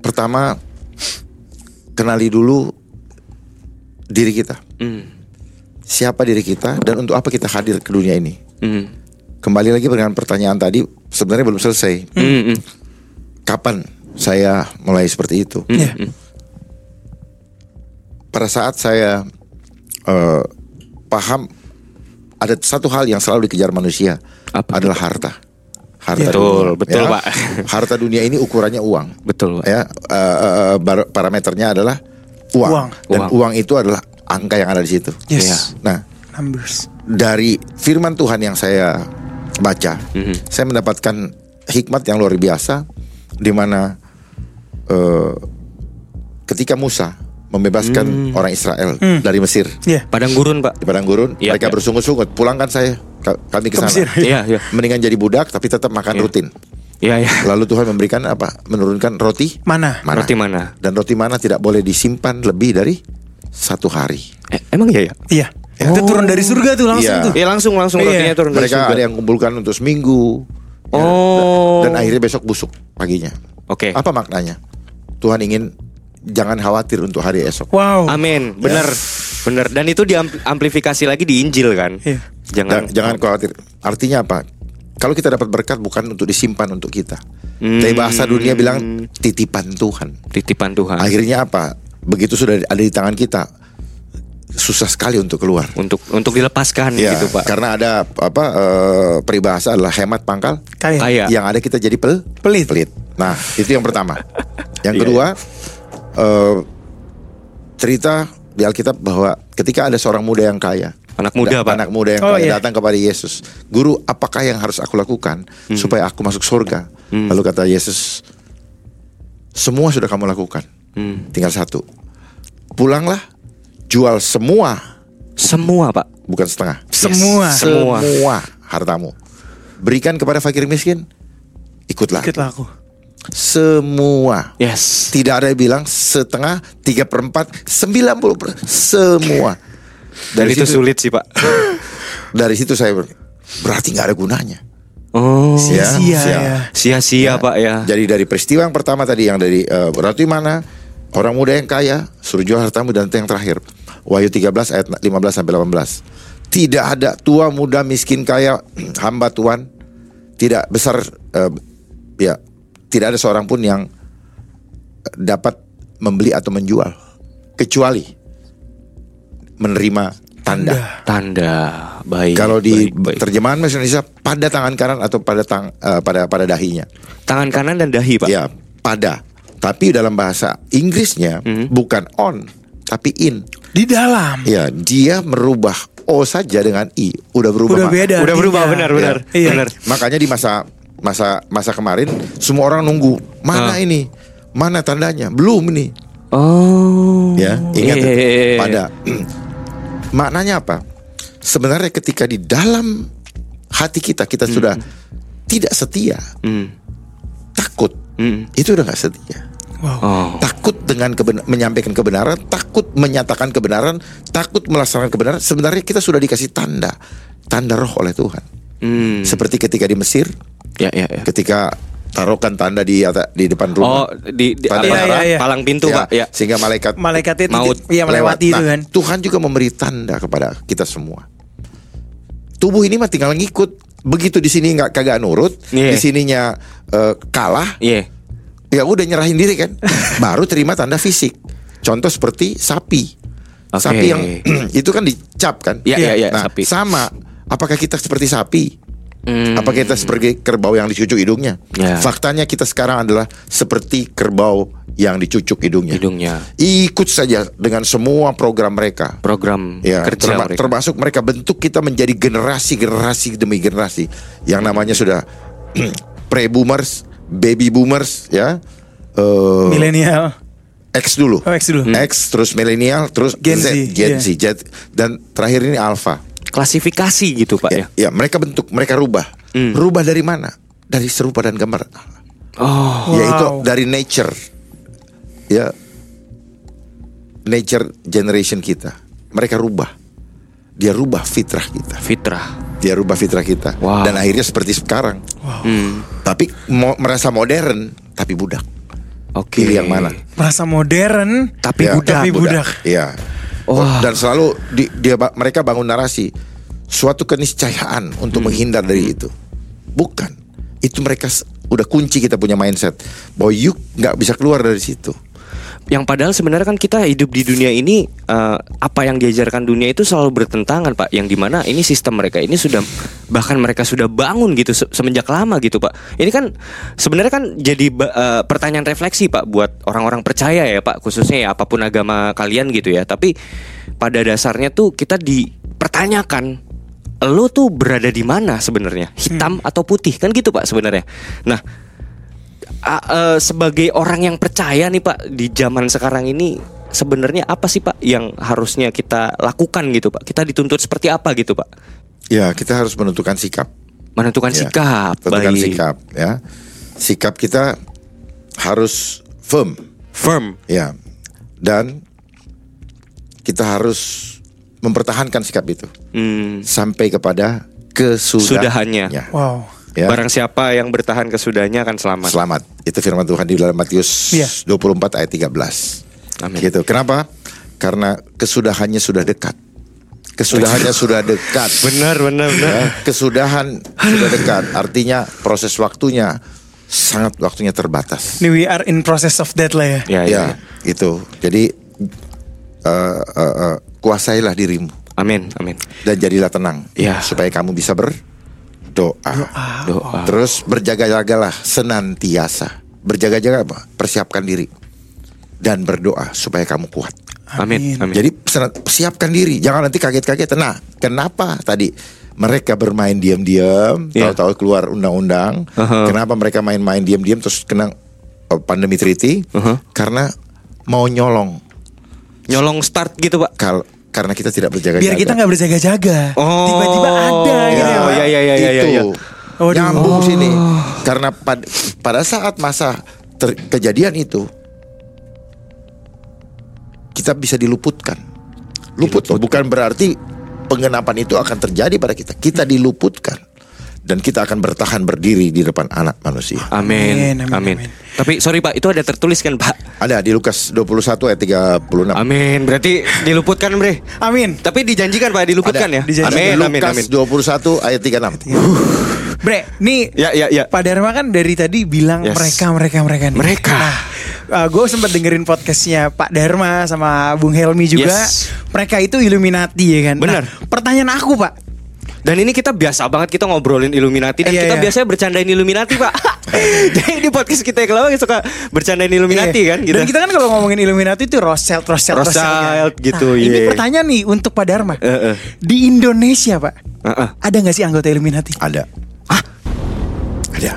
Pertama, kenali dulu diri kita.
Hmm.
Siapa diri kita dan untuk apa kita hadir ke dunia ini?
Hmm.
Kembali lagi dengan pertanyaan tadi, sebenarnya belum selesai.
Hmm, hmm.
Kapan saya mulai seperti itu?
Iya.
hmm.
Pada saat saya eh, paham ada satu hal yang selalu dikejar manusia
Apa Iya.
adalah harta. Harta
Betul,
dunia, Ya?
betul, Pak.
Harta dunia ini ukurannya uang.
Betul, Pak.
ya eh, eh, eh, bar- parameternya adalah uang,
Uang.
dan
Uang.
uang. itu adalah angka yang ada di situ.
Yes.
Iya. Nah,
Numbers.
dari firman Tuhan yang saya baca,
Mm-hmm.
saya mendapatkan hikmat yang luar biasa di mana eh, ketika Musa
Mm.
membebaskan orang Israel dari Mesir
Iya.
Padang gurun, Pak.
di padang gurun,
Iya,
mereka
iya.
bersungut-sungut, pulangkan saya ka- kami ke
Ke
sana.
Mesir.
Iya, iya.
Mendingan jadi budak tapi tetap makan
Iya.
rutin.
Iya, iya.
Lalu Tuhan memberikan apa? Menurunkan roti
Mana?
mana?
Roti mana?
Dan roti mana tidak boleh disimpan lebih dari satu hari.
Eh, emang iya ya?
Iya. Itu turun dari surga tuh langsung
Iya.
tuh.
Iya, langsung langsung
Iya.
rotinya turun dari
Mereka
surga.
ada yang kumpulkan untuk seminggu. ya,
Oh. Eh.
Dan akhirnya besok busuk paginya.
Oke.
Apa maknanya? Tuhan ingin jangan khawatir untuk hari esok.
Wow.
Amin, bener, bener. Dan itu diamplifikasi lagi di Injil kan?
Iya.
Jangan,
Dan jangan khawatir. Artinya apa? Kalau kita dapat berkat bukan untuk disimpan untuk kita.
Hmm.
Tapi bahasa dunia bilang titipan Tuhan.
titipan Tuhan
Akhirnya apa? Begitu sudah ada di tangan kita, susah sekali untuk keluar.
untuk untuk dilepaskan
Iya,
gitu pak.
Karena ada apa eh, peribahasa adalah hemat pangkal.
Kayak.
Kayak. Iya.
Yang ada kita jadi pel
Pelit.
Nah, itu yang pertama. yang
Iya,
kedua eh, cerita di Alkitab bahwa ketika ada seorang muda yang kaya,
Anak muda, Pak.
anak muda yang
Oh,
kaya
iya.
datang kepada Yesus, "Guru, apakah yang harus aku lakukan
Hmm.
supaya aku masuk surga?" Lalu kata Yesus, "Semua sudah kamu lakukan.
Hmm.
Tinggal satu. Pulanglah, jual semua,
Semua pak.
bukan setengah."
Semua.
Semua.
semua hartamu. Berikan kepada fakir miskin, ikutlah.
Ikutlah aku.
Semua.
Yes.
Tidak ada yang bilang setengah, tiga perempat, sembilan puluh per- semua.
Dan
Dari
itu
situ,
sulit sih pak.
dari situ saya ber- berarti nggak ada gunanya.
Oh.
Ya,
Sia-sia
siap.
ya.
Sia-sia pak ya.
Jadi dari peristiwa yang pertama tadi yang dari eh, berarti mana orang muda yang kaya suruh jual hartamu dan itu yang terakhir Wahyu 13 ayat 15 sampai 18. Tidak ada tua muda miskin kaya hamba Tuhan tidak besar eh, ya tidak ada seorang pun yang eh, dapat membeli atau menjual kecuali menerima tanda.
Tanda baik.
Kalau di
baik, baik.
terjemahan bahasa Indonesia pada tangan kanan atau pada tang, eh, pada pada dahinya.
tangan kanan dan dahi pak.
Ya, pada. Tapi dalam bahasa Inggrisnya
Hmm.
bukan on, tapi in.
Di dalam.
Ya, dia merubah o saja dengan i, udah berubah.
Udah
Mak.
beda.
Udah berubah
artinya.
benar benar
Iya.
benar.
Makanya di masa masa masa kemarin semua orang nunggu,
Ah.
mana ini? Mana tandanya? Belum ini.
Oh.
Ya, ingat
Iya, iya, iya, iya.
pada. Maknanya apa? Sebenarnya ketika di dalam hati kita kita sudah tidak setia,
Hmm.
takut.
Hmm.
Itu udah nggak setia.
Oh.
takut dengan keben- menyampaikan kebenaran, takut menyatakan kebenaran, takut melaksanakan kebenaran. Sebenarnya kita sudah dikasih tanda, tanda roh oleh Tuhan.
Hmm.
Seperti ketika di Mesir,
Ya ya ya.
ketika taruhkan tanda di ata- di depan
Oh
rumah.
di, di
Tanda
apa,
Iya, iya, iya.
palang pintu
Ya,
pak ya.
Sehingga malaikat
Malaikatnya
Maut
Iya melewati
lewat.
itu
Nah,
kan.
Tuhan juga memberi tanda kepada kita semua. tubuh ini mah tinggal ngikut. Begitu di sini nggak kagak nurut,
Iya.
di sininya eh, kalah,
Iya.
ya udah nyerahin diri kan baru terima tanda fisik contoh seperti sapi
Oke.
sapi yang itu kan dicap kan
Iya, iya, iya,
nah
sapi.
sama apakah kita seperti sapi
Hmm.
apa kita seperti kerbau yang dicucuk hidungnya
Ya.
faktanya kita sekarang adalah seperti kerbau yang dicucuk hidungnya
hidungnya
ikut saja dengan semua program mereka
program
Ya,
kerja
terma-
mereka.
termasuk mereka bentuk kita menjadi generasi generasi demi generasi yang namanya sudah pre boomers, baby boomers, ya,
Oh.
eh,
milenial
X dulu,
Oh, X dulu.
Hmm.
X terus milenial, terus
Gen
Z,
Z,
Gen
iya.
Z, Z, dan terakhir ini alpha.
klasifikasi gitu Pak ya. Hmm.
Ya, ya, mereka bentuk, mereka rubah, rubah dari mana? Dari serupa dan gambar, Allah.
Oh,
yaitu
Wow.
dari nature, ya, nature generation kita, mereka rubah, dia rubah fitrah kita.
fitrah.
dia rubah fitrah kita
Wow.
dan akhirnya seperti sekarang
Hmm.
tapi mo- merasa modern tapi budak
Oke.
pilih yang mana
merasa modern
Tapi
Ya.
budak.
Tapi budak.
Iya.
Wah.
dan selalu di- dia ba- mereka bangun narasi suatu keniscayaan untuk
Hmm.
menghindar dari itu bukan itu mereka s- udah kunci kita punya mindset bahwa you nggak bisa keluar dari situ
Yang padahal sebenarnya kan kita hidup di dunia ini eh, apa yang diajarkan dunia itu selalu bertentangan Pak. Yang dimana ini sistem mereka ini sudah bahkan mereka sudah bangun gitu se- semenjak lama gitu Pak. Ini kan sebenarnya kan jadi ba- eh, pertanyaan refleksi Pak buat orang-orang percaya ya Pak khususnya ya apapun agama kalian gitu ya. Tapi pada dasarnya tuh kita dipertanyakan lo tuh berada di mana sebenarnya hitam atau putih kan gitu pak sebenarnya nah a- eh, sebagai orang yang percaya nih pak di zaman sekarang ini sebenarnya apa sih pak yang harusnya kita lakukan gitu pak kita dituntut seperti apa gitu pak
ya kita harus menentukan sikap
menentukan
Ya,
sikap
tentukan
baik.
sikap ya sikap kita harus firm
firm
Ya. Dan kita harus mempertahankan sikap itu
Hmm,
sampai kepada kesudahannya.
Sudahannya.
wow
Ya.
barang siapa yang bertahan kesudahannya akan selamat
Selamat. Itu firman Tuhan di dalam Matius
Iya.
24 ayat 13.
Amin.
Gitu. Kenapa? Karena kesudahannya sudah dekat. Kesudahannya sudah dekat.
benar benar benar
Ya, kesudahan sudah dekat. Artinya proses waktunya sangat waktunya terbatas.
ini we are in process of that lah ya
ya, ya, ya.
Ya, itu. Jadi eh, eh, eh, kuasailah dirimu
amin amin
dan jadilah tenang
Ya.
supaya kamu bisa berdoa.
doa
Terus berjaga-jagalah senantiasa. Berjaga-jaga apa? Persiapkan diri dan berdoa supaya kamu kuat.
amin amin
Jadi sena- siapkan diri, jangan nanti kaget-kaget. Nah, kenapa tadi mereka bermain diam-diam,
Iya.
tahu-tahu keluar undang-undang?
Aha.
Kenapa mereka main-main diam-diam terus kena eh, pandemi treaty?
Aha.
Karena mau nyolong.
nyolong start gitu pak
Kal- karena kita tidak berjaga-jaga.
biar kita nggak berjaga-jaga
Oh.
tiba-tiba ada gitu ya,
Oh,
Pak.
iya, iya, iya, iya,
Itu.
iya.
Waduh.
Nyambung sini. Karena pad- pada saat masa ter- kejadian itu kita bisa diluputkan. Luput loh, bukan berarti pengenapan itu akan terjadi pada kita. Kita diluputkan dan kita akan bertahan berdiri di depan anak manusia.
Ah.
Amin,
amin amin,
amin, amin.
tapi sorry pak itu ada tertulis kan pak
Ada di Lukas 21 ayat 36.
amin berarti diluputkan bre
amin
Tapi dijanjikan Pak diluputkan
Ada.
ya.
Dijanjikan.
Amin amin
Lukas
amin.
21 ayat 36.
Bre, nih
Ya, ya, ya.
Pak Dharma kan dari tadi bilang
Yes.
mereka mereka mereka nih.
Mereka.
Nah, gue sempat dengerin podcastnya Pak Dharma sama Bung Helmi juga.
Yes.
Mereka itu Illuminati ya kan.
Benar.
Nah, pertanyaan aku Pak,
Dan ini kita biasa banget kita ngobrolin Illuminati dan
Iya,
kita
iya.
biasanya bercandain Illuminati Pak. Jadi di podcast kita yang lama suka bercandain Illuminati
Iya.
kan gitu.
Dan kita kan kalau ngomongin Illuminati itu Rothschild, Rothschild,
Rothschild
kan. Nah,
gitu,
Ini
iya.
pertanyaan nih untuk Pak Dharma.
Eh, eh.
Di Indonesia Pak,
Ah, ah.
ada nggak sih anggota Illuminati?
Ada. Ada.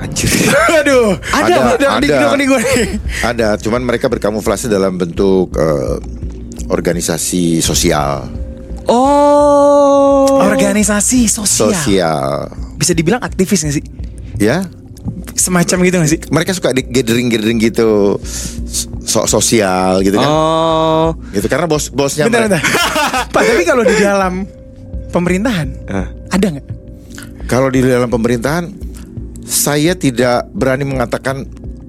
Anjir.
Aduh, ada, Pak.
ada,
Di- di- di- di- gue nih.
Ada, cuman mereka berkamuflase dalam bentuk eh, organisasi sosial,
Oh.
Organisasi sosial.
sosial,
Bisa dibilang aktivis nggak sih?
ya.
Semacam gitu nggak sih?
Mereka suka di gathering-gathering gitu, so sosial gitu kan.
Oh.
Gitu karena bos-bosnya
Iya,
Bentar,
mereka-
bentar. Pak, tapi kalau di dalam pemerintahan
Eh.
ada nggak?
Kalau di dalam pemerintahan, saya tidak berani mengatakan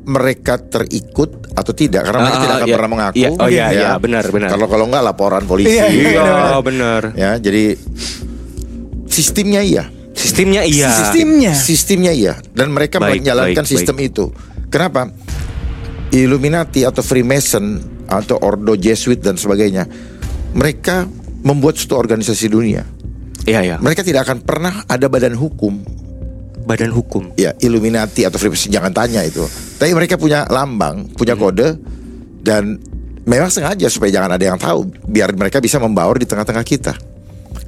mereka terikut atau tidak karena mereka
Ah,
tidak akan
iya.
pernah mengaku.
Iya,
Ya.
oh iya, iya, benar, benar.
Kalau kalau enggak laporan polisi.
Iya,
Iya benar.
Ya, jadi Ya, Sistemnya iya.
Sistemnya iya.
Sistemnya.
Sistemnya iya dan mereka
Baik,
menjalankan
baik,
sistem itu. Kenapa? Illuminati atau Freemason atau Ordo Jesuit dan sebagainya. Mereka membuat suatu organisasi dunia.
Iya iya.
Mereka tidak akan pernah ada badan hukum.
Badan hukum.
Ya, Illuminati atau Freemason jangan tanya itu. Tapi mereka punya lambang, punya
Hmm.
kode dan memang sengaja supaya jangan ada yang tahu biar mereka bisa membaur di tengah-tengah kita.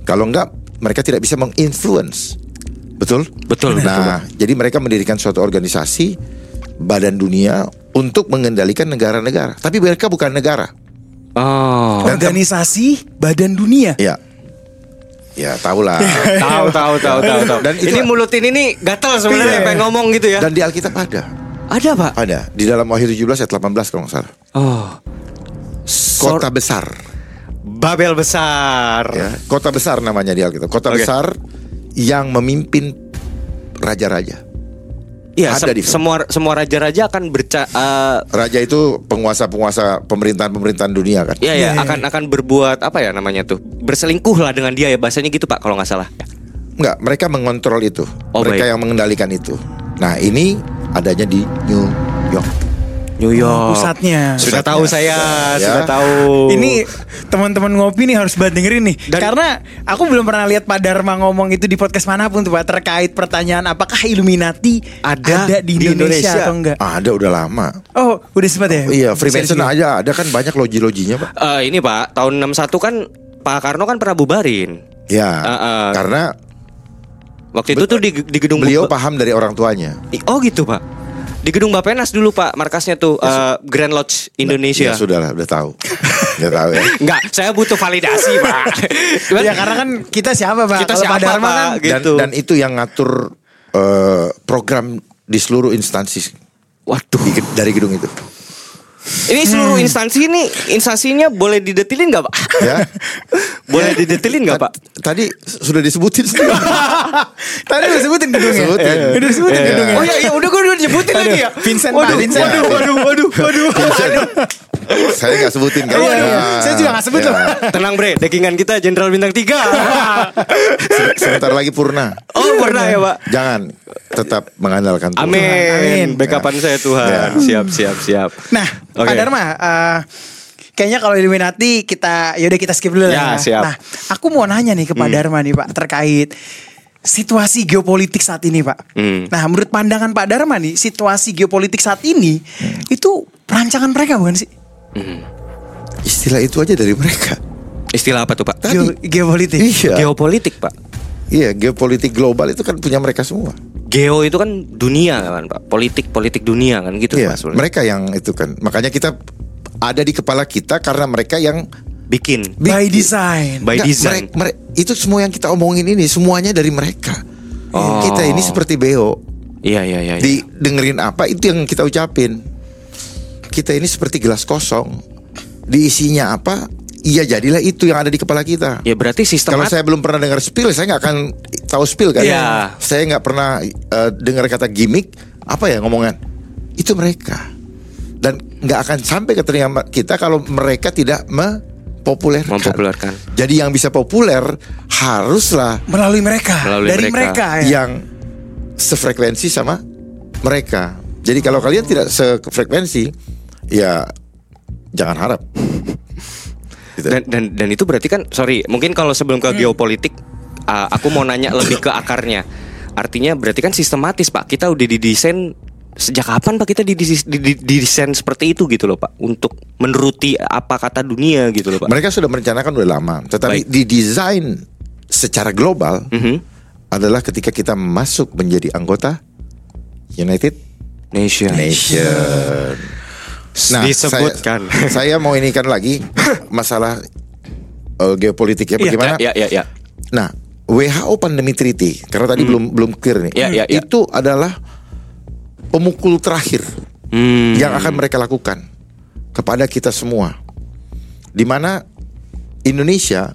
Kalau enggak mereka tidak bisa menginfluence. Betul?
Betul,
Nah, jadi mereka mendirikan suatu organisasi badan dunia untuk mengendalikan negara-negara. Tapi mereka bukan negara.
Oh.
Organisasi Badan Dunia.
Iya.
Ya. Ya, tahulah.
Tahu tahu tahu tahu tahu.
Dan itu-
ini mulut ini nih gatal sebenarnya
Iya.
pengen ngomong gitu ya.
Dan Iya. di Alkitab ada.
ada, Pak.
Ada di dalam Wahyu 17 ayat 18 kalau nggak salah.
Oh.
Kota besar.
Babel besar.
ya. Kota besar namanya di Alkitab. Kota
Oke.
besar yang memimpin raja-raja.
Iya,
Ada
se-
di film.
semua semua raja-raja akan berca eh,
Raja itu penguasa-penguasa pemerintahan-pemerintahan dunia kan.
ya ya akan akan berbuat apa ya namanya tuh? Berselingkuh lah dengan dia ya bahasanya gitu Pak kalau nggak salah.
Enggak, mereka mengontrol itu.
Oh,
mereka
baik.
yang mengendalikan itu. Nah, ini adanya di New York.
New York.
Pusatnya.
Sudah
Pusatnya.
tahu saya,
Ya.
sudah tahu.
Ini teman-teman ngopi nih harus banget dengerin nih
Dan-
Karena aku belum pernah lihat Pak Dharma ngomong itu di podcast manapun tuh Pak Terkait pertanyaan apakah Illuminati
Ada
di, Indonesia,
di Indonesia.
atau enggak
Ada udah lama.
Oh udah sempat ya?
Iya, Freemason
Serius.
aja ada kan banyak loji-lojinya, Pak.
Eh, ini Pak, tahun 61 kan Pak Karno kan pernah bubarin.
Ya.
Heeh.
Karena
Waktu itu tuh di, di gedung
beliau
Bap-
paham dari orang tuanya.
I- Oh gitu Pak. Di gedung Bapenas dulu Pak, markasnya tuh eh, Grand Lodge Indonesia.
Ya sudah lah, udah tahu. udah tahu ya.
Enggak, saya butuh validasi Pak. Cuman-
Iya,
Ya karena kan kita siapa Pak?
Kita
Kalau
siapa,
Pak Dharma
Pak?
kan
Dan,
Gitu.
dan itu yang ngatur eh, program di seluruh instansi
Waduh.
di- dari gedung itu.
Ini seluruh instansi ini instansinya boleh didetilin nggak Pak?
Hmm. Ya.
boleh didetilin nggak Pak? Iya.
Ta- Tadi sudah disebutin.
Tadi udah sebutin gedungnya
Sebutin.
Udah sebutin
Iya.
gedungnya
Oh iya, iya udah gue udah nyebutin
Aduh,
tadi ya.
Vincent,
waduh,
Pak, Vincent.
waduh, waduh, waduh, waduh, waduh.
saya nggak sebutin
Iya,
kan.
Aduh, aduh,
Ya.
saya juga nggak sebut
Ya.
loh.
Tenang bre, dekingan kita Jenderal Bintang 3
Se- Sebentar lagi purna.
Oh pernah ya Pak?
Jangan tetap mengandalkan Tuhan.
Amin.
Amin.
Backupan saya Tuhan.
Ya.
Siap, siap, siap.
Nah, Pak
Oke.
Dharma, eh, kayaknya kalau Illuminati kita yaudah kita skip dulu lah.
Ya, siap.
Nah, aku mau nanya nih ke Pak Dharma nih Pak terkait situasi geopolitik saat ini Pak.
Hmm.
Nah, menurut pandangan Pak Dharma nih, situasi geopolitik saat ini itu perancangan mereka bukan sih?
Istilah itu aja dari mereka.
Istilah apa tuh Pak?
Tadi.
Geo- geopolitik.
Iya.
Geopolitik Pak.
iya, geopolitik global itu kan punya mereka semua.
Geo itu kan dunia kan Pak. Politik, politik dunia kan gitu Pak
Iya,
sebenarnya.
mereka yang itu kan. Makanya kita ada di kepala kita karena mereka yang
Bikin.
By design.
By
Nggak,
design.
merek- merek- itu semua yang kita omongin ini semuanya dari mereka.
Oh.
Kita ini seperti beo,
Iya, iya, iya. iya.
di dengerin apa itu yang kita ucapin. Kita ini seperti gelas kosong. Diisinya apa? Iya jadilah itu yang ada di kepala kita.
Ya berarti sistem
Kalau saya belum pernah dengar spill, saya nggak akan tahu spill kan.
Iya.
Saya nggak pernah eh, dengar kata gimmick. Apa ya ngomongan? Itu mereka. Dan nggak akan sampai ke telinga ma- kita kalau mereka tidak mempopulerkan.
Mempopulerkan.
Jadi yang bisa populer haruslah
Melalui mereka.
Melalui
dari
mereka.
mereka, ya.
iya.
yang sefrekuensi sama mereka. Jadi kalau kalian tidak sefrekuensi, ya jangan harap. Gitu.
dan, dan dan itu berarti kan sorry mungkin kalau sebelum ke geopolitik uh, aku mau nanya lebih ke akarnya artinya berarti kan sistematis pak kita udah didesain sejak kapan pak kita didis- didi- didesain seperti itu gitu loh pak untuk menuruti apa kata dunia gitu loh pak
mereka sudah merencanakan udah lama, tetapi
Baik.
didesain secara global
Mhm.
adalah ketika kita masuk menjadi anggota United
nation
Nation.
disebutkan
Saya, Nah, saya mau inikan lagi masalah eh, geopolitik ya bagaimana?
ya ya ya
Nah, WHO Pandemic Treaty karena
Hmm.
tadi belum belum clear nih.
Ya, ya, ya.
Itu adalah pemukul terakhir
Hmm.
yang akan mereka lakukan kepada kita semua. Di mana Indonesia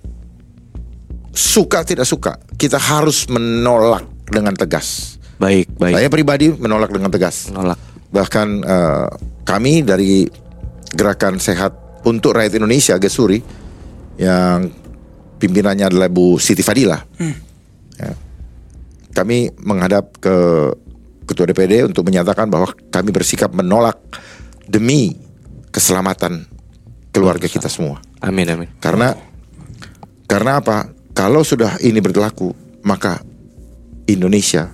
suka tidak suka kita harus menolak dengan tegas.
baik baik
Saya pribadi menolak dengan tegas.
nolak
Bahkan eh, kami dari gerakan sehat untuk rakyat Indonesia Gesuri yang pimpinannya adalah Bu Siti Fadila. Ya. kami menghadap ke Ketua DPD untuk menyatakan bahwa kami bersikap menolak demi keselamatan keluarga kita semua.
Amin amin.
Karena karena apa? Kalau sudah ini berlaku, maka Indonesia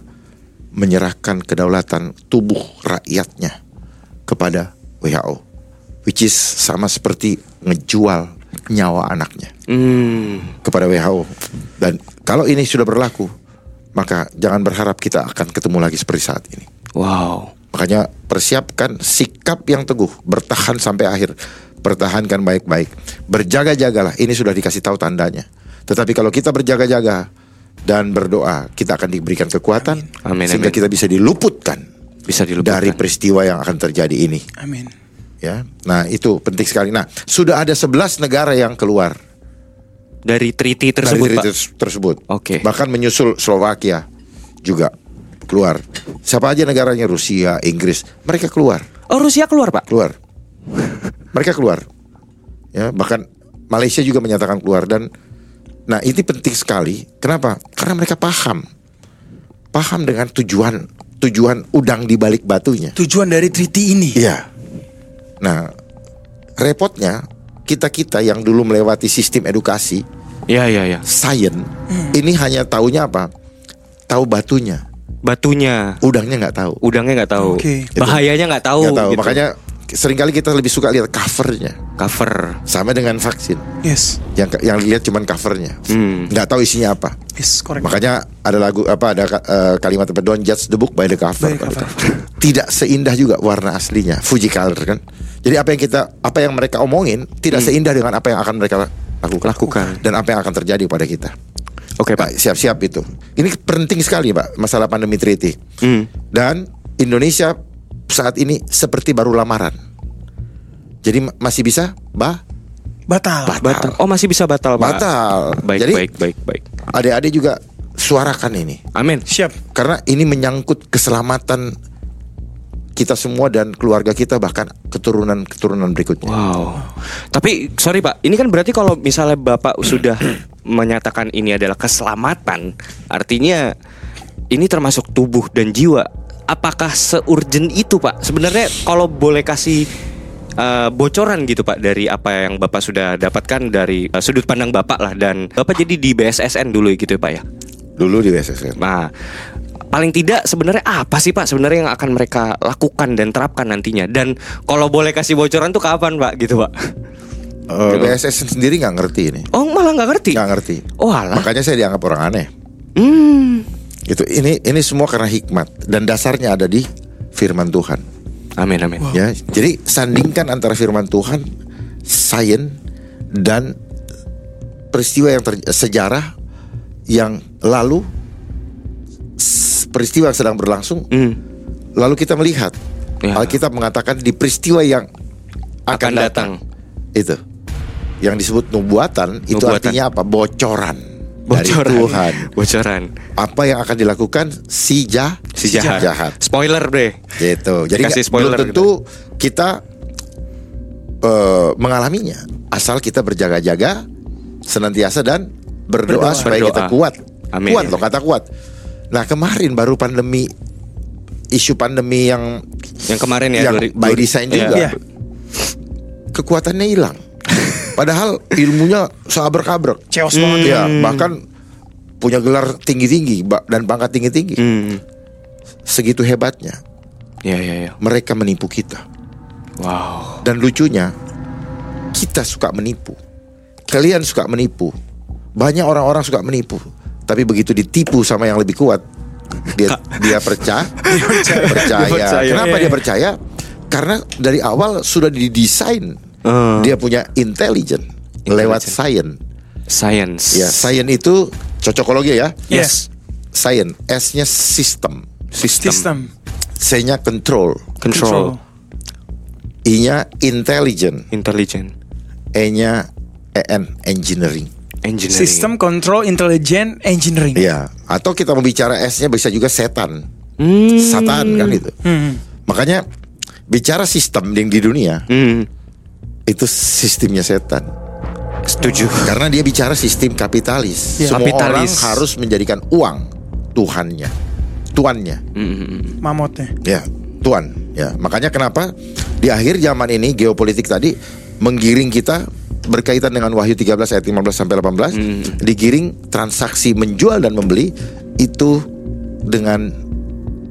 menyerahkan kedaulatan tubuh rakyatnya kepada WHO, which is sama seperti ngejual nyawa anaknya
Hmm.
kepada WHO. Dan kalau ini sudah berlaku, maka jangan berharap kita akan ketemu lagi seperti saat ini.
Wow.
Makanya persiapkan sikap yang teguh, bertahan sampai akhir, pertahankan baik-baik, berjaga-jagalah. Ini sudah dikasih tahu tandanya. Tetapi kalau kita berjaga-jaga dan berdoa, kita akan diberikan kekuatan
Amin. Amin,
sehingga
amin.
kita bisa diluputkan,
Bisa diluputkan.
dari peristiwa yang akan terjadi ini.
Amin.
Ya, nah itu penting sekali. Nah, sudah ada 11 negara yang keluar
Dari treaty
dari
tersebut
treaty
pak.
terse- tersebut.
Oke.
Bahkan menyusul Slovakia juga keluar. Siapa aja negaranya Rusia, Inggris, mereka keluar.
Oh Rusia keluar pak.
keluar. Mereka keluar. Ya, bahkan Malaysia juga menyatakan keluar dan nah ini penting sekali. Kenapa? Karena mereka paham. Paham dengan tujuan tujuan udang di balik batunya.
Tujuan dari treaty ini.
Iya. Nah, repotnya kita-kita yang dulu melewati sistem edukasi
Ya ya ya.
sains
Hmm.
ini hanya taunya apa? Tahu batunya,
Batunya.
udangnya nggak tahu.
Udangnya nggak tahu.
Oke.
Bahayanya nggak tahu.
Nggak tahu.
gitu.
Makanya seringkali kita lebih suka lihat covernya
cover.
sama dengan vaksin.
Yes.
yang yang lihat cuman covernya
Hmm.
nggak tahu isinya apa
Yes, correct.
makanya ada lagu apa ada eh, kalimat apa don't judge the book by the cover,
By the cover.
tidak seindah juga warna aslinya Fuji color kan jadi apa yang kita apa yang mereka omongin tidak seindah dengan apa yang akan mereka
Hmm.
lakukan,
Lakukan.
dan apa yang akan terjadi pada kita
Oke
Nah,
pak.
siap-siap itu ini penting sekali pak masalah pandemi treaty
Hmm.
dan Indonesia saat ini seperti baru lamaran jadi ma- masih bisa bah
Batal.
Batal. Oh masih bisa batal pak.
Batal.
Baik
Jadi-
baik baik baik.
adik-adik juga suarakan ini
Amin.
Siap.
karena ini menyangkut keselamatan kita semua dan keluarga kita bahkan keturunan-keturunan berikutnya.
Wow. Tapi sorry Pak, ini kan berarti kalau misalnya Bapak sudah menyatakan ini adalah keselamatan, artinya ini termasuk tubuh dan jiwa. Apakah seurgent itu Pak? Sebenarnya kalau boleh kasih eh, bocoran gitu Pak dari apa yang Bapak sudah dapatkan dari eh, sudut pandang Bapak lah dan Bapak jadi di BSSN dulu gitu ya Pak ya.
Dulu di BSSN.
Nah, paling tidak sebenarnya apa sih Pak sebenarnya yang akan mereka lakukan dan terapkan nantinya? Dan kalau boleh kasih bocoran tuh kapan Pak gitu Pak?
Eh, BSSN sendiri nggak ngerti ini,
Oh malah nggak ngerti?
nggak ngerti.
Oh alah.
Makanya saya dianggap orang aneh.
Hmm.
Itu ini ini semua karena hikmat dan dasarnya ada di firman Tuhan.
Amin amin.
Ya, jadi sandingkan antara firman Tuhan, sains dan peristiwa yang ter- sejarah yang lalu s- peristiwa yang sedang berlangsung
Hmm.
Lalu kita melihat
Ya.
Alkitab mengatakan di peristiwa yang akan,
Akan
datang.
datang.
itu yang disebut nubuatan itu
Nubuatan.
artinya apa bocoran,
Bocoran.
dari Tuhan
Bocoran.
apa yang akan dilakukan si, jah-
Si jahat. Spoiler deh.
gitu jadi
Dikasih
nggak- belum
spoiler ya?
tentu kita eh, mengalaminya asal kita berjaga-jaga senantiasa dan
Berdoa.
berdoa, supaya
Berdoa.
kita kuat
Amin.
kuat loh kata kuat nah kemarin baru pandemi isu pandemi yang
Yang kemarin ya.
Yang
dari-
by design
Iya.
juga. kekuatannya hilang. Padahal ilmunya sabar kabrek.
Chaos
Hmm.
banget.
Ya, bahkan punya gelar tinggi-tinggi ba- dan pangkat tinggi-tinggi.
Hmm.
Segitu hebatnya
Iya iya iya.
mereka menipu kita.
Wow.
Dan lucunya kita suka menipu. Kalian suka menipu. Banyak orang-orang suka menipu. Tapi begitu ditipu sama yang lebih kuat, dia dia percaya, percaya.
Dia percaya. Iya,
Kenapa dia percaya? Karena dari awal sudah didesain.
Eh.
Dia punya intelijen lewat sains.
Science.
Ya, sains itu cocokologi ya.
Yes.
Sains, S-nya sistem,
System.
System.
C-nya control,
Control.
I-nya intelligent,
Intelligent.
E-nya EN engineering.
Engineering.
System control intelligent engineering.
Iya, atau kita membicara S-nya bisa juga setan.
Hmm.
Satan kan itu. Makanya bicara sistem yang di dunia
Hmm.
itu sistemnya setan.
Setuju.
Karena dia bicara sistem kapitalis. Semua
Ya. Kapitalis.
orang harus menjadikan uang Tuhannya, Tuannya.
Mamotnya.
Ya, Tuan. Ya, makanya kenapa di akhir zaman ini geopolitik tadi menggiring kita berkaitan dengan Wahyu 13 ayat 15 sampai 18,
Hmm.
digiring transaksi menjual dan membeli itu dengan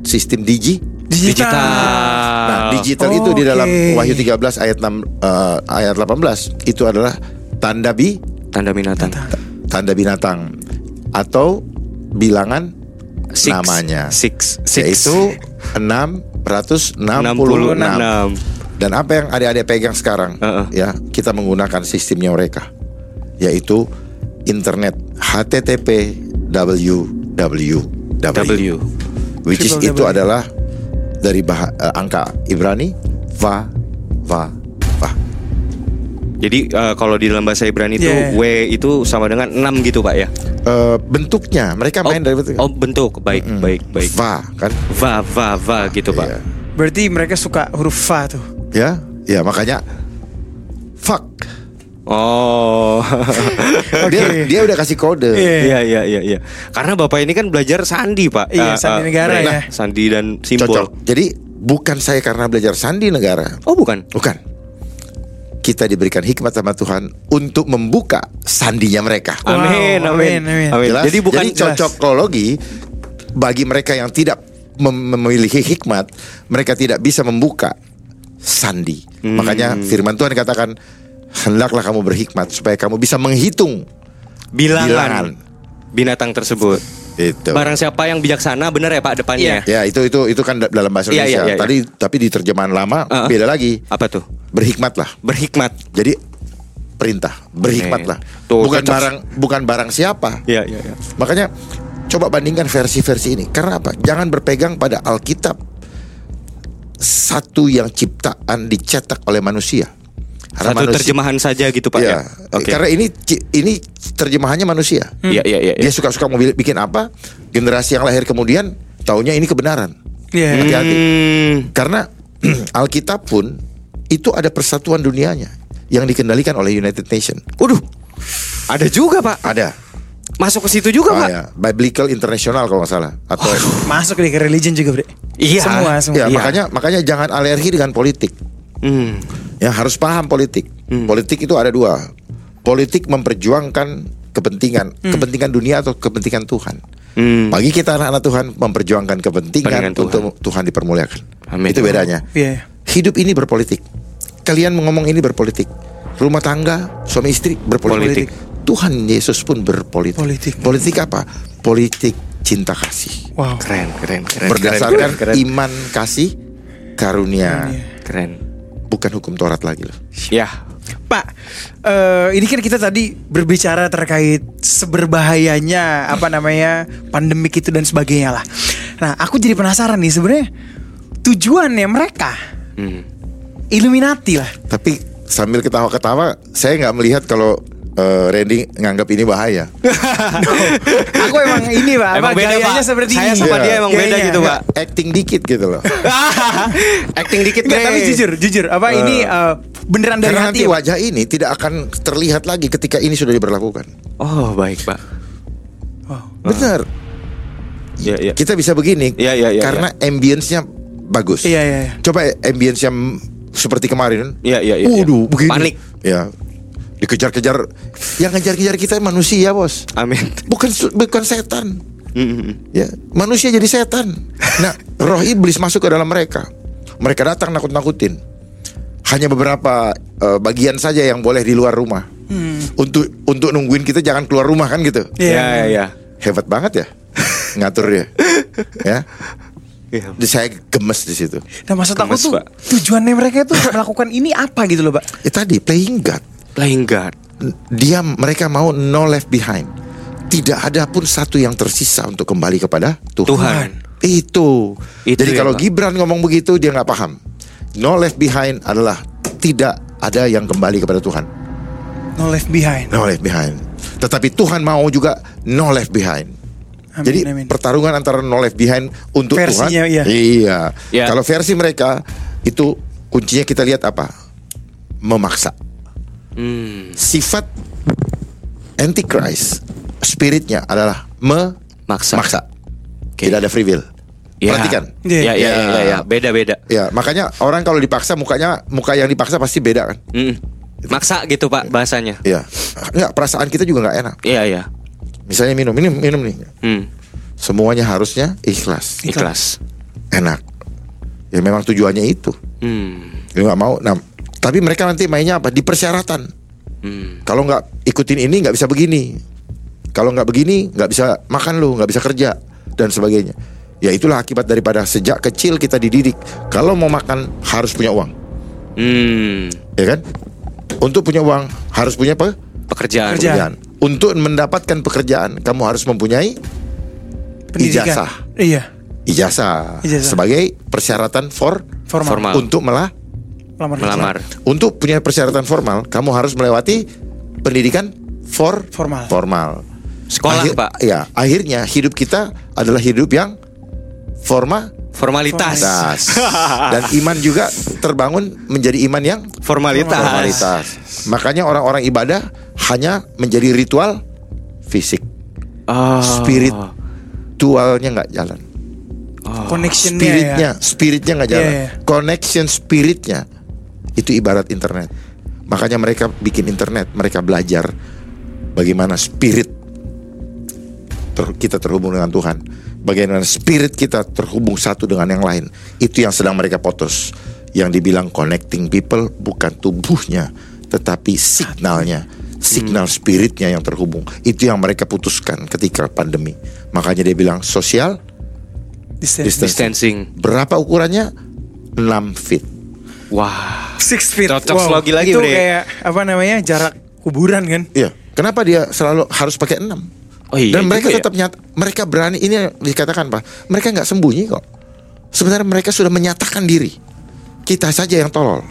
sistem digi.
Digital.
Nah,
Ah.
digital itu di
Oke.
dalam Wahyu 13 ayat 6 eh, ayat 18 itu adalah tanda bi
Tanda minatan.
tanda binatang atau bilangan
Six.
namanya.
Six. Six.
yaitu 666.
66.
Dan apa yang adik-adik pegang sekarang
Heeh.
ya, kita menggunakan sistemnya mereka yaitu internet http www
W.
which is
Triple
itu
W.
adalah dari bah- eh, angka Ibrani va va va.
Jadi eh, kalau di dalam bahasa Ibrani itu
Yeah.
W itu sama dengan 6 gitu Pak ya.
Eh, bentuknya mereka Kan main dari bentuk
Oh, bentuk. Baik, baik, baik.
va kan
Va va va gitu Pak.
Iya.
Berarti mereka suka huruf fa tuh.
ya ya makanya fuck
Oh.
dia dia udah kasih kode
Iya.
Iya iya iya iya. Karena Bapak ini kan belajar sandi, Pak.
Iya,
Eh,
sandi
eh,
negara
nah,
ya.
Sandi dan
cocok
simbol.
jadi bukan saya karena belajar sandi negara
Oh, bukan.
bukan kita diberikan hikmat sama Tuhan untuk membuka sandinya mereka
Wow,
Amin, amin,
amin, amin.
amin.
Jelas?
Ah, Jadi bukan
jelas.
cocokologi bagi mereka yang tidak mem- memiliki hikmat, mereka tidak bisa membuka sandi.
Hmm.
Makanya firman Tuhan katakan hendaklah kamu berhikmat supaya kamu bisa menghitung
bilangan,
bilangan.
binatang tersebut.
itu.
Barang siapa yang bijaksana benar ya Pak depannya.
Ya, itu itu itu kan da- dalam bahasa
Iya,
Indonesia.
iya, iya,
Tadi tapi di terjemahan lama
Uh-uh.
beda lagi.
Apa tuh?
Berhikmatlah.
Berhikmat.
Jadi perintah, berhikmatlah.
Amin. Tuh,
bukan
cocok.
barang bukan barang siapa.
Iya, iya, iya.
Makanya coba bandingkan versi-versi ini. Karena apa? Jangan berpegang pada Alkitab satu yang ciptaan dicetak oleh manusia.
Satu
Karena manusia-
terjemahan saja gitu Pak
Iya.
ya. Oke.
Karena ini ci- ini terjemahannya manusia.
Iya, iya, iya.
Dia suka-suka mau bi- bikin apa? Generasi yang lahir kemudian taunya ini kebenaran.
Iya.
Hati-hati.
Hmm.
Karena Alkitab pun itu ada persatuan dunianya yang dikendalikan oleh United Nations.
Waduh. Ada juga Pak.
Ada.
Masuk ke situ juga Pak.
Ah, ya. Biblical International kalau nggak salah atau
Masuk deh ke religion juga, Bre.
Iya.
Semua, semua.
Ya, makanya makanya jangan alergi dengan politik.
Hmm.
Ya harus paham politik. Politik itu ada dua. Politik memperjuangkan kepentingan, kepentingan dunia atau kepentingan Tuhan.
Hmm.
Bagi kita anak-anak Tuhan memperjuangkan
Kepentingan
kepentingan
Tuhan.
untuk Tuhan dipermuliakan.
Amin.
Itu bedanya.
Iya.
Hidup ini berpolitik. Kalian ngomong ini berpolitik. Rumah tangga, suami istri berpolitik.
Politik.
Tuhan Yesus pun berpolitik.
Politik.
Politik apa? Politik cinta kasih
Wow.
Keren, keren, keren.
berdasarkan
keren, keren.
iman kasih karunia
keren.
bukan hukum Taurat lagi loh
Ya.
Pak, eh, ini kan kita tadi berbicara terkait seberbahayanya apa namanya pandemik itu dan sebagainya lah. Nah, aku jadi penasaran nih sebenarnya tujuannya mereka
Hmm.
Illuminati lah.
tapi sambil ketawa-ketawa saya nggak melihat kalau eh, Randy nganggap ini bahaya
Aku emang ini pak,
Emang
apa,
beda,
gayanya
Pak.
seperti
Saya
ini.
sama
dia emang
beda
Gayanya.
gitu, Pak.
acting dikit gitu loh
Acting dikit
Nggak,
Bre.
tapi jujur, jujur. Apa ini eh, beneran dari
karena
hati?
nanti
ya, Pak?
wajah ini tidak akan terlihat lagi ketika ini sudah diberlakukan
Oh, baik Pak.
benar
Iya, iya.
kita bisa begini
Iya, iya, iya,
karena ambience-nya bagus
Iya, iya, iya.
coba ambience yang seperti kemarin
Iya, iya, iya, iya.
Waduh, begini
Panik.
ya dikejar-kejar yang ngejar-kejar kita manusia bos
Amin.
bukan su- bukan setan
Hmm.
ya manusia jadi setan nah roh iblis masuk ke dalam mereka mereka datang nakut nakutin hanya beberapa eh, bagian saja yang boleh di luar rumah untuk untuk nungguin kita jangan keluar rumah kan gitu
Iya.
Iya, iya, iya.
hebat banget ya ngatur dia ya
Iya.
Jadi saya gemes di situ
Nah maksud aku
Gemes,
tuh
Pak.
tujuannya mereka itu melakukan ini apa gitu loh pak?
Eh, tadi playing God
Playing guard.
dia mereka mau no left behind tidak ada pun satu yang tersisa untuk kembali kepada Tuhan,
Tuhan.
itu,
Itu
jadi
ya, Pak.
kalau Gibran ngomong begitu dia nggak paham no left behind adalah tidak ada yang kembali kepada Tuhan
No left behind.
no left behind tetapi Tuhan mau juga no left behind
Amin,
jadi
amin.
pertarungan antara no left behind untuk
Versinya, iya.
Tuhan iya
Iya.
kalau versi mereka itu kuncinya kita lihat apa memaksa
Hmm.
sifat antichrist spiritnya adalah
Maksa.
memaksa maksa Tidak ada free will.
Ya.
Perhatikan.
Ya, ya, ya,
Ya.
ya, ya. beda beda.
Ya, makanya orang kalau dipaksa mukanya muka yang dipaksa pasti beda kan?
Mm. Maksa gitu pak bahasanya.
Iya. Enggak, perasaan kita juga nggak enak.
Iya iya.
Misalnya minum, minum, minum nih.
Hmm.
Semuanya harusnya ikhlas,
Ikhlas.
enak. Ya memang tujuannya itu.
Hmm.
Dia nggak mau. Nah, tapi mereka nanti mainnya apa? Di persyaratan.
Hmm.
Kalau nggak ikutin ini nggak bisa begini. Kalau nggak begini nggak bisa makan lu, nggak bisa kerja dan sebagainya. Ya itulah akibat daripada sejak kecil kita dididik. Kalau mau makan harus punya uang,
Hmm.
ya kan? Untuk punya uang harus punya apa?
Pekerjaan.
Kerja.
Pekerjaan. Untuk mendapatkan pekerjaan kamu harus mempunyai
Pendidikan.
Ijazah.
Iya.
ijazah,
Ijazah.
sebagai persyaratan for
Formal.
Formal.
untuk melah
Lamar. kerja.
Melamar.
Untuk punya persyaratan formal, kamu harus melewati pendidikan for
Formal.
Formal.
Sekolah
Akhir-
pak.
Ya, akhirnya hidup kita adalah hidup yang formal.
Formalitas.
Das. Dan iman juga terbangun menjadi iman yang
Formalitas.
formalitas. Makanya orang-orang ibadah hanya menjadi ritual fisik.
Oh.
Spirit tualnya nggak jalan.
Ah.
Connectionnya
Spiritnya,
ya.
spiritnya nggak jalan.
Iya, iya.
Connection spiritnya itu ibarat internet. Makanya mereka bikin internet, mereka belajar bagaimana spirit ter- kita terhubung dengan Tuhan. Bagaimana spirit kita terhubung satu dengan yang lain. Itu yang sedang mereka potos. Yang dibilang connecting people bukan tubuhnya, tetapi signalnya. Signal
Hmm.
spiritnya yang terhubung. Itu yang mereka putuskan ketika pandemi. Makanya dia bilang sosial
Distance.
Distance.
Distancing.
Berapa ukurannya? 6 feet.
Wah.
Six feet.
Cocok slogi lagi,
Itu
Bre.
kayak apa namanya jarak kuburan kan?
Iya. Kenapa dia selalu harus pakai 6?
Oh iya
Dan mereka
juga ya.
tetap nyata, mereka berani ini yang dikatakan Pak. Mereka nggak sembunyi kok. Sebenarnya mereka sudah menyatakan diri. Kita saja yang tolol.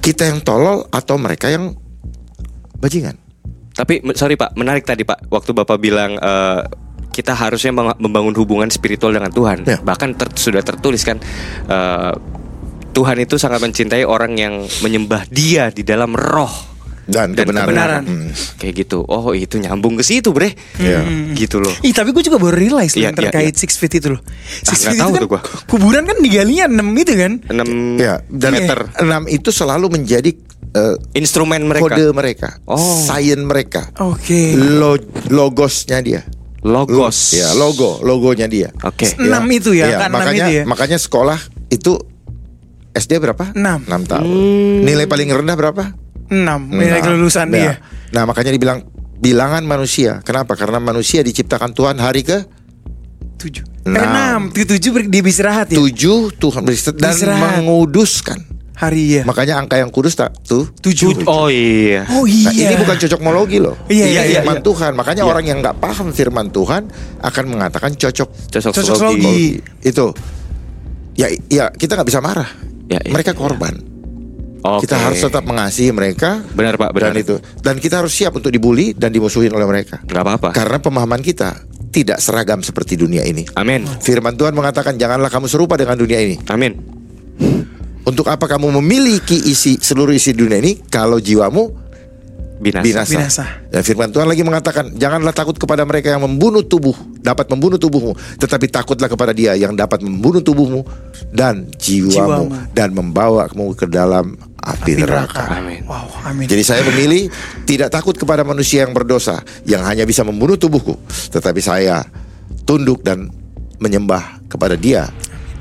Kita yang tolol atau mereka yang bajingan.
Tapi me- sorry Pak, menarik tadi Pak waktu Bapak bilang eh, kita harusnya meng- membangun hubungan spiritual dengan Tuhan.
Ya.
Bahkan ter- sudah tertulis kan eh, Tuhan itu sangat mencintai orang yang menyembah Dia di dalam roh
Dan, kebenaran.
kebenaran.
Hmm.
Kayak gitu. Oh, itu nyambung ke situ, Bre.
Iya.
Gitu loh.
Ih tapi gue juga baru realize loh
Iya,
yang
iya,
terkait
iya.
six feet itu loh.
Ah,
Six
nggak tahu
itu kan
tuh gua.
kuburan kan digalinya 6 gitu kan?
6
Ya, dan
meter.
6 itu selalu menjadi eh,
Instrumen mereka.
kode mereka,
Oh.
sign mereka,
Oke.
lo, logosnya dia,
Logos.
ya logo, logonya dia. Iya.
Oke.
Enam itu ya, angka enam
makanya
itu ya.
makanya sekolah itu SD berapa?
Enam.
6 tahun. Nilai paling rendah berapa?
6 nilai
Enam.
kelulusan
Nah,
dia.
Nah, makanya dibilang bilangan manusia. Kenapa? Karena manusia diciptakan Tuhan hari ke
7.
Enam.
Eh, Enam, tujuh tujuh ber- dia beristirahat ya.
tujuh Tuhan beristirahat dan
Istirahat.
menguduskan.
Hari ya.
Makanya angka yang kudus tak tuh.
Tujuh.
gitu.
Oh iya.
Oh
Nah,
iya.
ini bukan cocokmologi loh.
Iya, iya, iya,
firman
iya.
Tuhan. Makanya orang yang nggak paham firman Tuhan akan mengatakan cocok
Cocok
Cocok
logi.
logi.
Kalau itu ya ya kita nggak bisa marah
Ya, iya,
mereka
iya.
korban
Oke.
kita harus tetap mengasihi mereka
Benar, Pak, benar.
dan itu dan kita harus siap untuk dibully dan dimusuhin oleh mereka
Nggak apa-apa.
karena pemahaman kita tidak seragam seperti dunia ini
Amin.
firman Tuhan mengatakan janganlah kamu serupa dengan dunia ini
Amin.
untuk apa kamu memiliki isi seluruh isi dunia ini kalau jiwamu
Binasa.
binasa.
Binasa.
Dan firman Tuhan lagi mengatakan, janganlah takut kepada mereka yang membunuh tubuh, dapat membunuh tubuhmu, tetapi takutlah kepada Dia yang dapat membunuh tubuhmu dan jiwamu,
Jiwamu.
dan membawamu ke dalam api, neraka.
Amin.
Wow, amin.
Jadi saya memilih tidak takut kepada manusia yang berdosa yang hanya bisa membunuh tubuhku, tetapi saya tunduk dan menyembah kepada Dia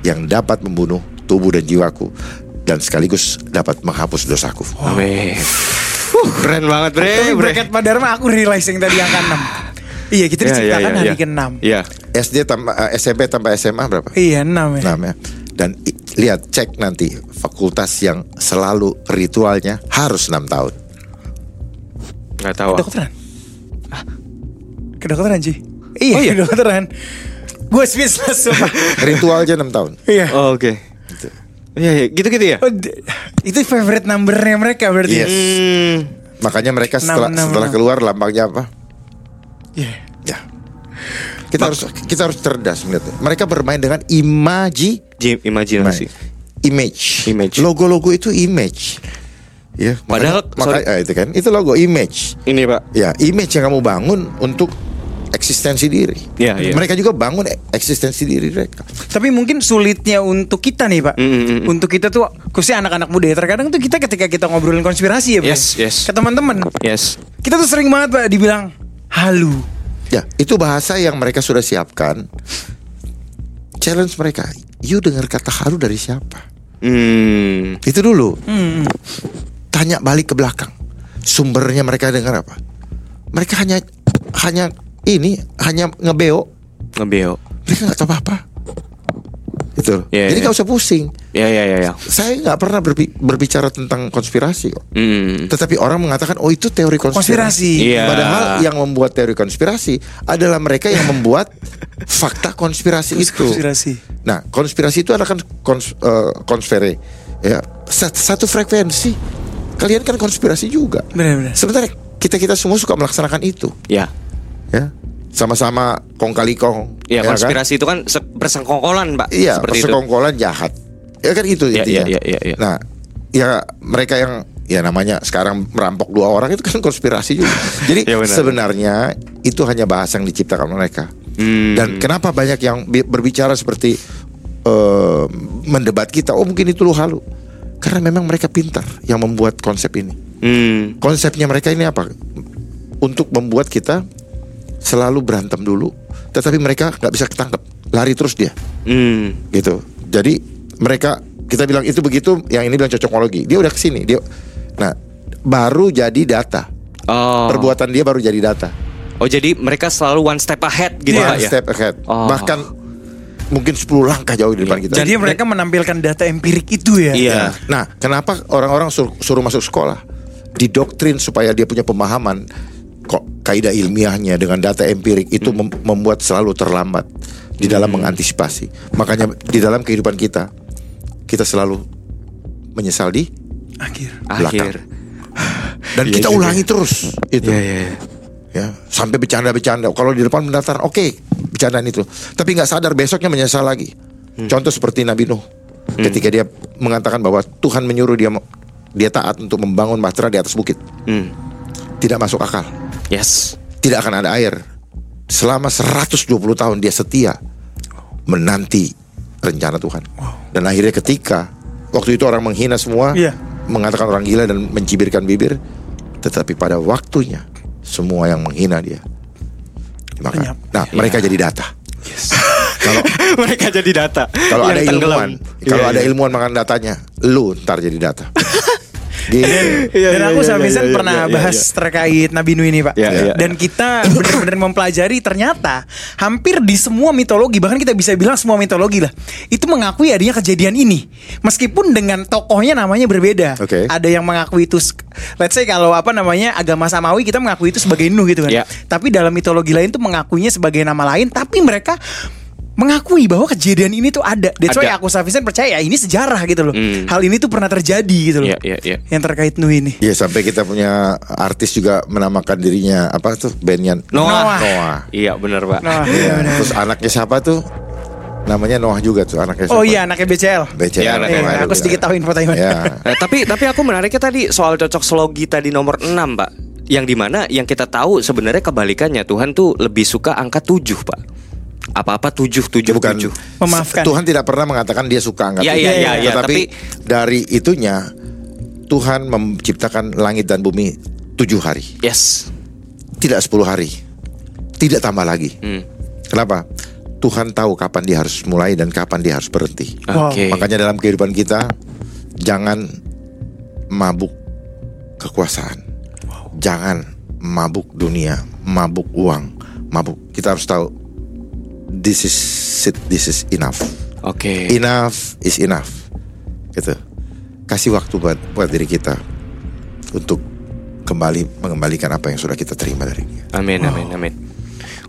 yang dapat membunuh tubuh dan jiwaku dan sekaligus dapat menghapus dosaku.
Oh.
Amin. Huh, keren banget, Bre.
Tapi
Eh, Bre.
bracket Pak Dharma aku realize yang tadi angka 6. Iya, kita
Iya,
kan
diciptakan
iya, iya,
hari
iya.
ke-6.
Iya.
SD tambah eh, SMP tambah SMA berapa?
Iya, 6 ya.
Namanya. Dan i- lihat cek nanti fakultas yang selalu ritualnya harus enam tahun.
Enggak tahu. aku.
Kedokteran. Ah. Kedokteran,
Oh,
Ji. Iya, kedokteran. Gue speechless sumpah.
Ritualnya enam tahun.
Iya.
Oh, Oke.
Gitu.
Iya, iya. gitu-gitu ya.
Oh, d- itu favorite numbernya mereka berarti.
Yes.
Hmm.
Makanya mereka
Enam,
setelah
enam,
setelah
enam.
keluar lambangnya apa?
Iya.
Ya. Kita harus kita harus cerdas melihat. Mereka bermain dengan imaji
Jim, imajinasi.
image.
Image.
Logo-logo itu image. Ya,
Padahal-
makanya, makanya- eh, itu kan itu logo image.
Ini, Pak.
Ya, image yang kamu bangun untuk eksistensi diri.
Iya, iya.
Mereka juga bangun e-, eksistensi diri mereka.
Tapi mungkin sulitnya untuk kita nih pak,
Mm, mm, mm.
untuk kita tuh khususnya anak-anak muda ya. Terkadang tuh kita ketika kita ngobrolin konspirasi ya, Pak,
Yes, yes.
ke teman-teman,
Yes.
kita tuh sering banget pak dibilang halu.
Ya, itu bahasa yang mereka sudah siapkan. Challenge mereka. You dengar kata haru dari siapa?
Hmm.
Itu dulu.
Hmm,
Tanya balik ke belakang. Sumbernya mereka dengar apa? Mereka hanya hanya ini hanya ngebeo.
Ngebeo.
Mereka nggak tahu apa-apa. Itu. loh.
Iya,
Jadi
iya.
nggak usah pusing.
Ya ya ya ya.
Saya nggak pernah berbi- berbicara tentang konspirasi kok.
Hmm.
Tetapi orang mengatakan oh itu teori konspirasi.
Konspirasi.
Iya.
Padahal yang membuat teori konspirasi adalah mereka yang membuat fakta konspirasi itu.
Konspirasi.
Nah, konspirasi itu adalah kan kons, eh, konsfere. Ya, sat- satu frekuensi. Kalian kan konspirasi juga.
Benar-benar.
Sebenarnya kita-kita semua suka melaksanakan itu,
Ya.
ya. Sama-sama kong kali kong.
Ya
kan?
konspirasi itu kan se- bersengkongkolan, Pak.
Iya,
Seperti itu.
persekongkolan jahat. Ya kan itu
Iya,
intinya.
iya, iya, iya.
Nah, ya mereka yang ya namanya sekarang merampok dua orang itu kan konspirasi juga. Jadi
Iya, benar.
sebenarnya itu hanya bahasa yang diciptakan mereka.
Hmm.
Dan kenapa banyak yang bi- berbicara seperti eh, mendebat kita? Oh mungkin itu lu halu. Karena memang mereka pintar yang membuat konsep ini.
Hmm.
Konsepnya mereka ini apa? Untuk membuat kita selalu berantem dulu, tetapi mereka nggak bisa ketangkep, lari terus dia
Hmm.
gitu. Jadi mereka kita bilang itu begitu, yang ini bilang cocokologi. Dia udah kesini, dia. Nah, baru jadi data.
Oh.
Perbuatan dia baru jadi data.
Oh jadi mereka selalu one step ahead gitu
Iya, One
Pak ya.
step ahead.
Oh.
Bahkan mungkin 10 langkah jauh di depan kita.
Jadi mereka menampilkan data empirik itu ya.
Iya.
Nah, Nah, kenapa orang-orang sur- suruh masuk sekolah? Didoktrin supaya dia punya pemahaman kok kaidah ilmiahnya dengan data empirik itu
Hmm.
mem- membuat selalu terlambat di dalam mengantisipasi. Makanya di dalam kehidupan kita kita selalu menyesal di
Akhir.
Akhir.
dan
Iya
kita
juga.
ulangi terus itu
Iya iya. iya.
ya sampai bercanda-bercanda kalau di depan pendaftaran oke bercandaan itu tapi nggak sadar besoknya menyesal lagi contoh seperti Nabi Nuh ketika dia mengatakan bahwa Tuhan menyuruh dia dia taat untuk membangun bahtera di atas bukit
Hmm.
tidak masuk akal
Yes.
tidak akan ada air selama 120 tahun dia setia menanti rencana Tuhan dan akhirnya ketika waktu itu orang menghina semua
Iya.
mengatakan orang gila dan mencibirkan bibir tetapi pada waktunya semua yang menghina dia maka
Lenyap.
nah
Iya.
mereka jadi data kalau
mereka jadi data.
kalau
Yang
ada
tenggelam.
ilmuwan kalau
Iya,
ada
iya.
ilmuwan makan datanya lu ntar jadi data gitu
Iya,
Dan
iya,
aku
iya,
sama
iya,
Vincent
iya,
pernah
iya, iya.
bahas terkait Nabi Nuh ini pak.
Iya, iya,
Dan kita benar-benar mempelajari ternyata hampir di semua mitologi bahkan kita bisa bilang semua mitologi lah itu mengakui adanya kejadian ini meskipun dengan tokohnya namanya berbeda.
Oke.
Ada yang mengakui itu, s- let's say kalau apa namanya agama samawi kita mengakui itu sebagai Nuh gitu kan.
Iya.
Tapi dalam mitologi lain tuh mengakuinya sebagai nama lain tapi mereka mengakui bahwa kejadian ini tuh ada. That's why
Ada.
aku sama Vincent percaya ini sejarah gitu loh.
Hmm.
Hal ini tuh pernah terjadi gitu loh.
Iya, iya, iya.
Yang terkait Nuh ini.
Iya sampai kita punya artis juga menamakan dirinya apa tuh bandnya
Noah.
Noah.
Iya benar Pak.
Nah,
Iya, Terus anaknya siapa tuh? Namanya Noah juga tuh anaknya.
Oh
siapa?
iya anaknya BCL.
BCL.
Iya, anaknya
Eh,
Noah
aku sedikit tahu info Taiwan.
Ya.
Nah, tapi tapi aku menariknya tadi soal cocok slogi tadi nomor 6 Pak. Yang dimana yang kita tahu sebenarnya kebalikannya Tuhan tuh lebih suka angka 7 Pak. Apa-apa 7 7
Dia bukan
7.
Memaafkan.
Tuhan tidak pernah mengatakan dia suka angkat.
Iya,
itu.
iya, iya, iya,
Tetapi
tapi-
dari itunya Tuhan menciptakan langit dan bumi tujuh hari,
Yes.
tidak sepuluh hari, tidak tambah lagi.
Hmm.
Kenapa? Tuhan tahu kapan dia harus mulai dan kapan dia harus berhenti.
Wow.
Oke.
Makanya dalam kehidupan kita jangan mabuk kekuasaan. Jangan mabuk dunia, mabuk uang, mabuk. Kita harus tahu this is it, this is enough.
Oke.
Enough is enough. Gitu. Kasih waktu buat buat diri kita untuk kembali mengembalikan apa yang sudah kita terima dari dia.
Amin amin amin.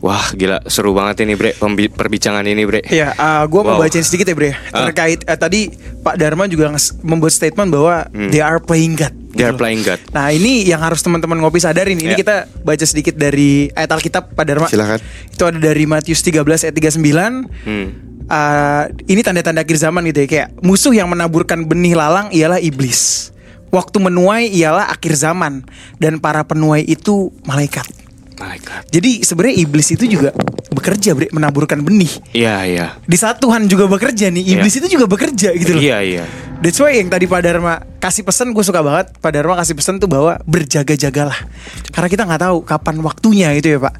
Wah, gila seru banget ini, Bre. Pembi- perbincangan ini, Bre.
Iya, gue mau
Wow.
bacain sedikit ya Bre
Ah.
Terkait, eh, tadi Pak Dharma juga nges- membuat statement bahwa They are playing God
Hmm. They are playing God.
Nah ini yang harus teman-teman ngopi sadarin Ini
Iya.
kita baca sedikit dari ayat Alkitab Pak Dharma
Silakan.
Itu ada dari Matius 13 ayat 39
Hmm.
Ah, Ini tanda-tanda akhir zaman gitu ya Kayak musuh yang menaburkan benih lalang ialah iblis Waktu menuai ialah akhir zaman Dan para penuai itu malaikat
My God.
Jadi sebenarnya iblis itu juga bekerja, Bre, menaburkan benih.
Iya, iya.
Di saat Tuhan juga bekerja nih, iblis
Iya.
itu juga bekerja gitu loh.
Iya, iya.
That's why yang tadi Pak Dharma kasih pesan gue suka banget. Pak Dharma kasih pesan tuh bahwa berjaga-jagalah. Karena kita nggak tahu kapan waktunya itu ya Pak.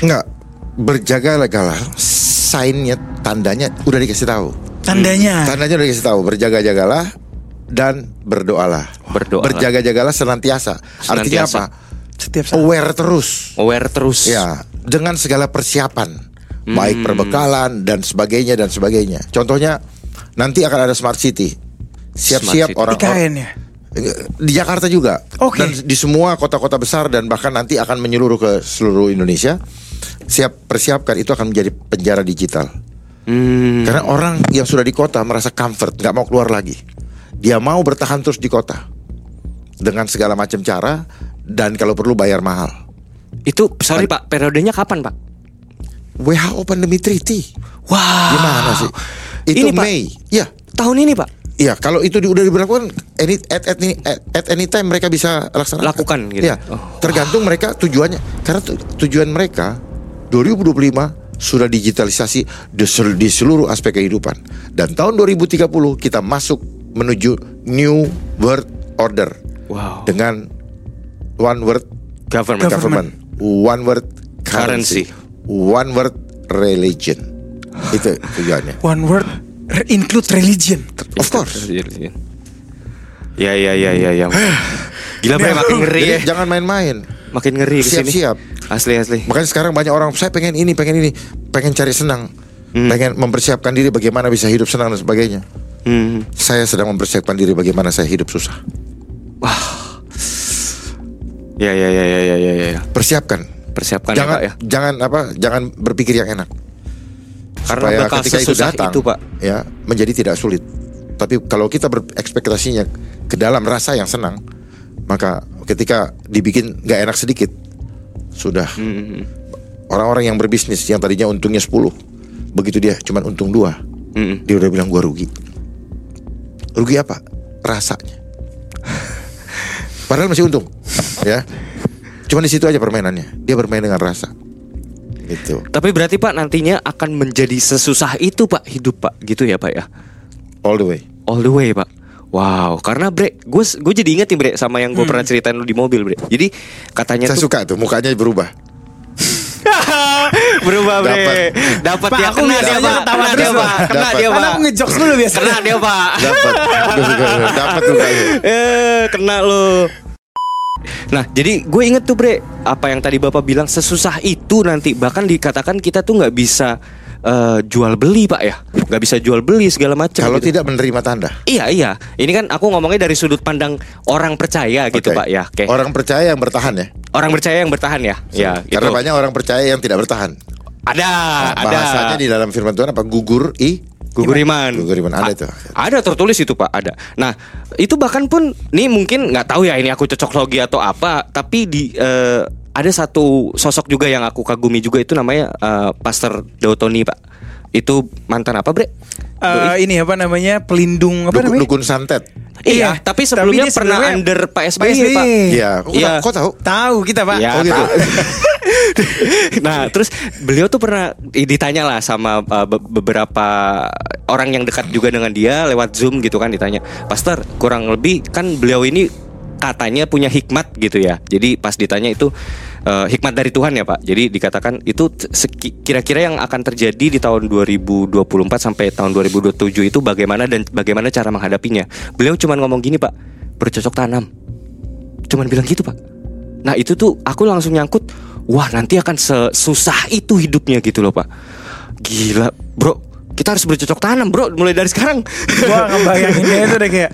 Enggak berjaga legalah Signnya tandanya udah dikasih tahu
Ah.
Tandanya.
Tandanya udah dikasih tahu berjaga-jagalah dan berdoalah.
Berdoalah.
Berjaga-jagalah senantiasa. Artinya
Senantiasa.
apa?
Setiap saat.
Aware terus.
Aware terus.
Ya, dengan segala persiapan,
Hmm.
baik perbekalan dan sebagainya dan sebagainya. Contohnya nanti akan ada smart city.
Smart City.
Siap-siap orang eh,
IKN ya.
di Jakarta juga
Oke.
dan di semua kota-kota besar dan bahkan nanti akan menyeluruh ke seluruh Indonesia. Siap persiapkan itu akan menjadi penjara digital.
Hmm.
Karena orang yang sudah di kota merasa comfort, nggak mau keluar lagi. Dia mau bertahan terus di kota dengan segala macam cara dan kalau perlu bayar mahal.
Itu sorry Pak, periodenya kapan, Pak?
WHO pandemi treaty.
Wah.
Gimana sih?
Ah. Ini,
Itu
Pak.
Mei. Ya,
Tahun ini, Pak.
Iya, kalau itu di- udah diberlakukan any, at, at, any- at, at any time mereka bisa laksanakan.
Lakukan, gitu.
Iya.
Oh.
Tergantung mereka tujuannya. Karena tu- tujuan mereka 2025 sudah digitalisasi di, sel- di seluruh aspek kehidupan. Dan tahun 2030 kita masuk menuju new world order.
Wow.
Dengan one world
Government.
government, one world currency, one world religion. Itu tujuannya.
One word re- include religion.
Of course.
Ya, ya, ya, ya, ya. Gila, Bre, makin ngeri ya.
Jadi jangan main-main.
Makin ngeri kesini.
Siap-siap.
Asli, asli.
Makanya sekarang banyak orang saya pengen ini, pengen ini, pengen cari senang, pengen mempersiapkan diri bagaimana bisa hidup senang dan sebagainya.
Hmm.
Saya sedang mempersiapkan diri bagaimana saya hidup susah.
Ya, ya, ya, ya, ya, ya, ya.
Persiapkan.
Persiapkan ya,
jangan
Pak ya.
jangan apa? Jangan berpikir yang enak.
Karena bakal sesusah itu, Pak.
ya menjadi tidak sulit. Tapi kalau kita berekspektasinya ke dalam rasa yang senang, maka ketika dibikin nggak enak sedikit, sudah
Hmm.
orang-orang yang berbisnis yang tadinya untungnya 10 begitu dia cuman untung dua
Hmm.
dia udah bilang gua rugi rugi apa rasanya padahal masih untung ya cuman di situ aja permainannya dia bermain dengan rasa gitu
Tapi berarti Pak nantinya akan menjadi sesusah itu Pak hidup Pak gitu ya Pak ya
all the way
all the way Pak. Wow, karena Bre, gue gue jadi inget nih Bre sama yang gue pernah ceritain lu di mobil Bre. Jadi katanya
Hmm. saya
tuh
suka tuh mukanya berubah
berubah Bre,
Dapat.
dapat
Pak,
ya
aku
kena
biasanya
dia Pak,
ketawa
kena
terus,
dia Pak,
Pak.
kena
Dapat.
dia
Karena
Pak,
aku ngejokes dulu biasanya.
kena dia Pak,
dapat Gua suka. dapat tuh kayaknya.
eh kena lo. Nah, jadi gue inget tuh Bre, apa yang tadi Bapak bilang sesusah itu nanti bahkan dikatakan kita tuh nggak bisa eh, jual beli Pak ya, nggak bisa jual beli segala macam.
kalau
gitu.
tidak menerima tanda
Iya iya, ini kan aku ngomongnya dari sudut pandang orang percaya gitu
Oke.
pak ya, Oke.
orang percaya yang bertahan ya
orang percaya yang bertahan ya, ya gitu.
Iya. karena banyak orang percaya yang tidak bertahan
ada ada
bahasanya di dalam firman Tuhan apa gugur i
gugur iman,
Ah, gugur iman ada
A-
itu
ada tertulis itu pak, ada. Nah itu bahkan pun nih mungkin nggak tahu ya ini aku cocok logi atau apa, tapi di eh, ada satu sosok juga yang aku kagumi juga itu namanya eh, Pastor Dautoni pak, itu mantan apa bre?
Eh, ini apa namanya? Pelindung apa
Dukun,
namanya?
dukun santet.
Iya, tapi
dia
sebelumnya pernah
sebelumnya
under Pak SBY, Pak.
Iya, kok,
Iya.
kok tahu?
Tahu kita Pak.
Ya,
Oh, gitu.
Pak. nah, terus beliau tuh pernah ditanya lah sama uh, be- beberapa orang yang dekat juga dengan dia lewat Zoom gitu kan ditanya, "Pastor, kurang lebih kan beliau ini katanya punya hikmat gitu ya." Jadi pas ditanya itu uh, hikmat dari Tuhan ya, Pak. Jadi dikatakan itu t- seki- kira-kira yang akan terjadi di tahun 2024 sampai tahun 2027 itu bagaimana dan bagaimana cara menghadapinya. Beliau cuman ngomong gini, Pak, bercocok tanam cuman bilang gitu pak nah itu tuh aku langsung nyangkut wah nanti akan sesusah itu hidupnya gitu loh pak gila bro kita harus bercocok tanam bro mulai dari sekarang
Gua ngebayanginnya itu udah kayak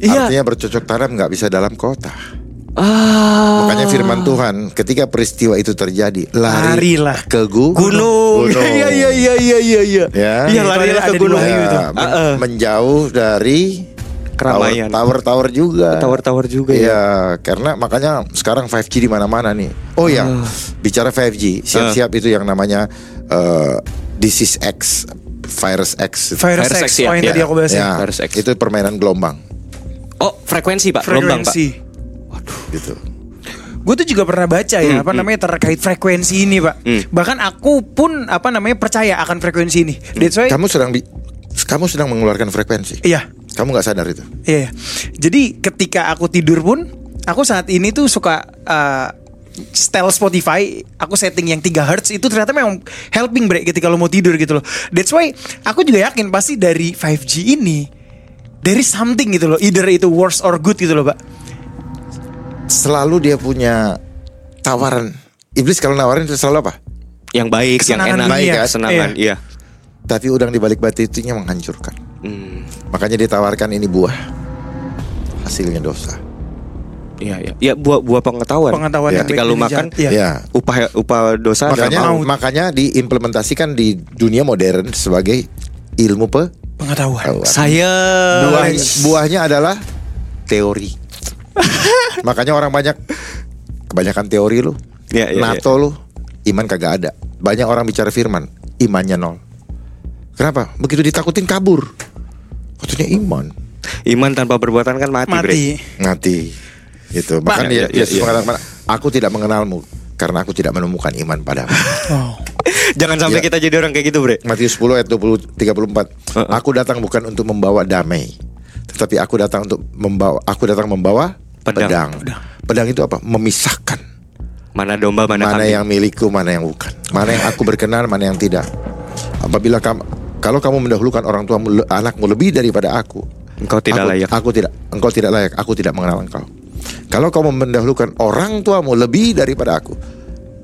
Iya.
Artinya bercocok tanam nggak bisa dalam kota.
ah
Makanya firman Tuhan ketika peristiwa itu terjadi lari
Larilah.
ke gu-
gunung
gunung.
iya iya iya iya iya iya
Ya.
iya lari
Ada
ke
di
gunung
Wahyu
Ya,
itu.
men-
Ah, ah.
menjauh dari
Keramaian.
Tower, tower juga.
Tower-tower juga
Iya,
ya.
karena makanya sekarang 5G di mana-mana nih. Oh ya,
Ah.
bicara 5G, siap-siap itu yang namanya eh, disease X, virus X.
virus,
Virus
X,
X, ya.
Oh yang
Ya.
tadi aku bahas.
Ya,
Virus X.
Itu permainan gelombang
oh frekuensi pak gelombang pak
Frekuensi.
gitu.
Gue tuh juga pernah baca ya apa namanya terkait frekuensi ini pak.
Hmm.
Bahkan aku pun apa namanya percaya akan frekuensi ini. That's why
Kamu sedang bi- kamu sedang mengeluarkan frekuensi.
iya
Kamu nggak sadar itu.
iya. Jadi ketika aku tidur pun aku saat ini tuh suka eh, setel Spotify aku setting yang 3 hertz itu ternyata memang helping break ketika lo mau tidur gitu loh. That's why aku juga yakin pasti dari 5G ini dari something gitu loh, either itu worse or good gitu loh, Pak.
Selalu dia punya tawaran. Iblis kalau nawarin itu selalu apa?
Yang baik,
Kesenangan
yang enak,
dunia.
kan?
ya, kesenangan,
Iya.
iya.
Tapi udang di balik batu itunya menghancurkan.
Hmm,
Makanya ditawarkan ini buah. Hasilnya dosa.
iya, iya. Ya buah buah pengetahuan.
Pengetahuan
Iya.
yang baik
Ketika lu
dan
makan,
jahat. Iya.
Ya.
upah upah dosa adalah
Makanya
maut.
makanya diimplementasikan di dunia modern sebagai ilmu pengetahuan.
Pengetahuan.
saya
Eh,
Buah, buahnya adalah teori. Makanya orang banyak kebanyakan teori lu.
Iya, iya,
NATO lu iman kagak ada. Banyak orang bicara firman, imannya nol. Kenapa? Begitu ditakutin kabur. Katanya iman.
iman tanpa perbuatan kan mati, Bre.
Mati.
Nanti itu
Pak.
makanya
Iya,
Gitu. dia,
iya,
Yesus
iya.
mengatakan, aku tidak mengenalmu karena aku tidak menemukan iman padamu.
Oh.
Jangan sampai
Iya.
kita jadi orang kayak gitu, Bre.
Matius 10 ayat 20 34.
Heeh.
Aku datang bukan untuk membawa damai, tetapi aku datang untuk membawa aku datang membawa
Pedang.
pedang. Pedang, itu apa? Memisahkan
Mana domba, mana,
mana
kambing.
yang milikku, mana yang bukan. Mana yang aku berkenan, mana yang tidak. Apabila kamu kalau kamu mendahulukan orang tuamu le- anakmu lebih daripada aku,
Engkau tidak
aku-
layak.
Aku tidak engkau tidak layak, aku tidak mengenal engkau. Kalau kamu mendahulukan orang tuamu lebih daripada aku,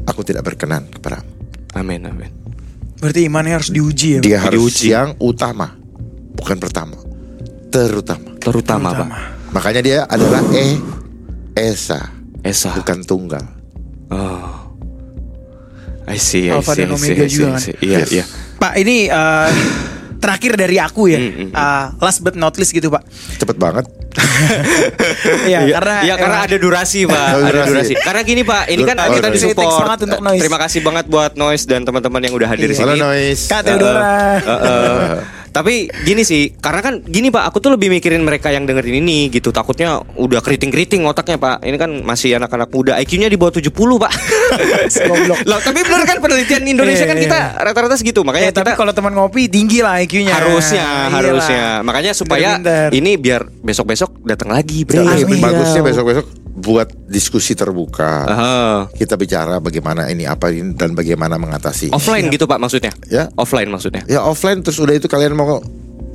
aku tidak berkenan kepadamu.
Amin, amin.
Berarti imannya harus diuji ya. Pak?
Dia harus
Diuji.
yang utama, bukan pertama, terutama.
Terutama, Pak.
Makanya dia adalah E
Ah.
Esa,
Esa.
bukan tunggal.
Oh. I see, I
Alpha
see,
dan
I see,
Omega
I see,
juga
I
kan?
see. Iya,
Yes.
iya.
Pak ini eh, terakhir dari aku ya.
Mm, mm, mm.
Eh, last but not least gitu Pak.
Cepet banget.
Iya karena
ya karena
emang-
ada durasi pak,
Ada
ada
durasi.
durasi. Karena gini pak, ini kan
Oh,
kita
durasi.
disupport.
Thanks banget untuk Noise.
Terima kasih banget buat noise dan teman-teman yang udah hadir di
Iya. Halo
sini.
noise.
Kak Theodora.
Eh, eh, tapi gini sih, karena kan gini pak, aku tuh lebih mikirin mereka yang dengerin ini gitu. Takutnya udah keriting-keriting otaknya pak. Ini kan masih anak-anak muda, IQ-nya di bawah 70 pak.
Goblok.
Loh, tapi bener kan penelitian Indonesia
Iya,
kan
iya.
kita rata-rata segitu. Makanya
Eh, tapi
kita-
kalau Iya teman ngopi tinggi lah IQ-nya.
harusnya,
Iyalah.
harusnya. Makanya supaya
Pinter-pinter.
ini biar besok-besok datang lagi, Bre.
Terus
Amin.
Iya, bagusnya besok-besok buat diskusi terbuka.
Aha.
Iya.
Kita bicara bagaimana ini apa ini dan bagaimana mengatasi.
Iya.
Offline gitu pak maksudnya?
Ya.
Offline maksudnya?
Ya offline terus udah itu kalian mau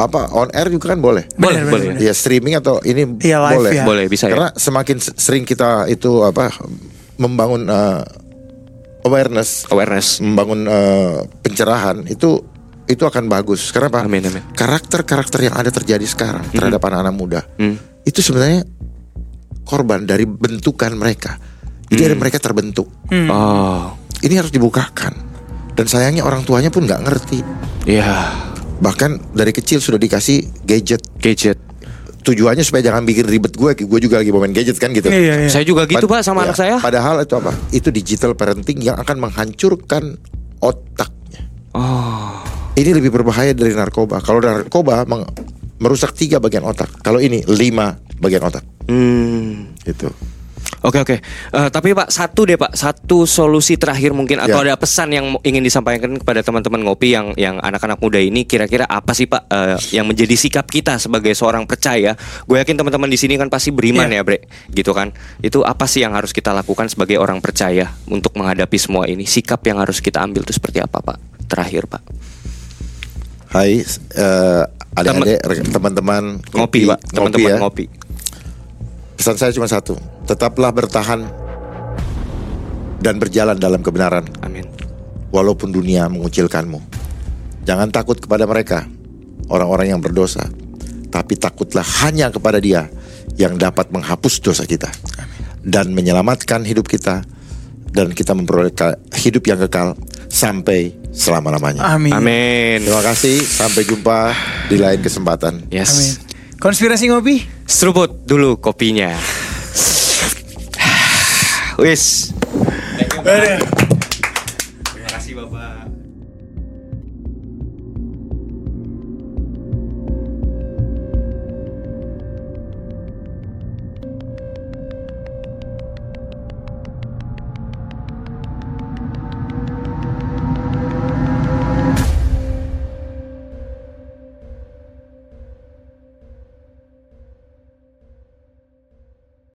apa on air juga kan boleh.
Bener,
Boleh,
bener,
boleh.
bener.
Ya streaming atau ini
Iya, live
boleh.
ya.
Boleh, bisa ya.
Karena semakin se- sering kita itu apa membangun eh, awareness,
Awareness.
membangun eh, pencerahan itu itu akan bagus. Kenapa?
Amin, amin. Mm-hmm.
Karakter-karakter yang ada terjadi sekarang terhadap anak-anak muda
Hmm.
itu sebenarnya korban dari bentukan mereka. Jadi
Hmm.
ada mereka terbentuk.
Oh,
Ini harus dibukakan. Dan sayangnya orang tuanya pun nggak ngerti.
iya.
Bahkan dari kecil sudah dikasih gadget.
Gadget.
Tujuannya supaya jangan bikin ribet gue. Gue juga lagi mau main gadget kan gitu.
Iya, iya.
Saya juga gitu
Pad-
pak sama
ya,
anak saya.
Padahal itu apa? Itu digital parenting yang akan menghancurkan otaknya.
Oh,
Ini lebih berbahaya dari narkoba. Kalau narkoba meng- merusak tiga bagian otak. Kalau ini lima bagian otak.
hmm.
Gitu.
Oke oke. Eh, tapi pak satu deh pak, satu solusi terakhir mungkin atau
Ya.
ada pesan yang ingin disampaikan kepada teman-teman ngopi yang yang anak-anak muda ini kira-kira apa sih pak eh, yang menjadi sikap kita sebagai seorang percaya? Gue yakin teman-teman di sini kan pasti beriman
Iya.
ya bre, gitu kan? Itu apa sih yang harus kita lakukan sebagai orang percaya untuk menghadapi semua ini? Sikap yang harus kita ambil itu seperti apa pak? Terakhir pak.
Hai, eh, adik-adik, rekan- teman-teman
Ngopi, pak,
ngopi
teman-teman
ya.
ngopi.
Pesan saya cuma satu, tetaplah bertahan dan berjalan dalam kebenaran,
Amin.
walaupun dunia mengucilkanmu. Jangan takut kepada mereka, orang-orang yang berdosa, tapi takutlah hanya kepada Dia yang dapat menghapus dosa kita dan menyelamatkan hidup kita dan kita memperoleh ka- hidup yang kekal sampai selama-lamanya.
Amin.
Amin.
Terima kasih, sampai jumpa di lain kesempatan.
Yes.
Amin. Konspirasi ngopi?
Seruput dulu kopinya. Wis. Terima kasih Bapak.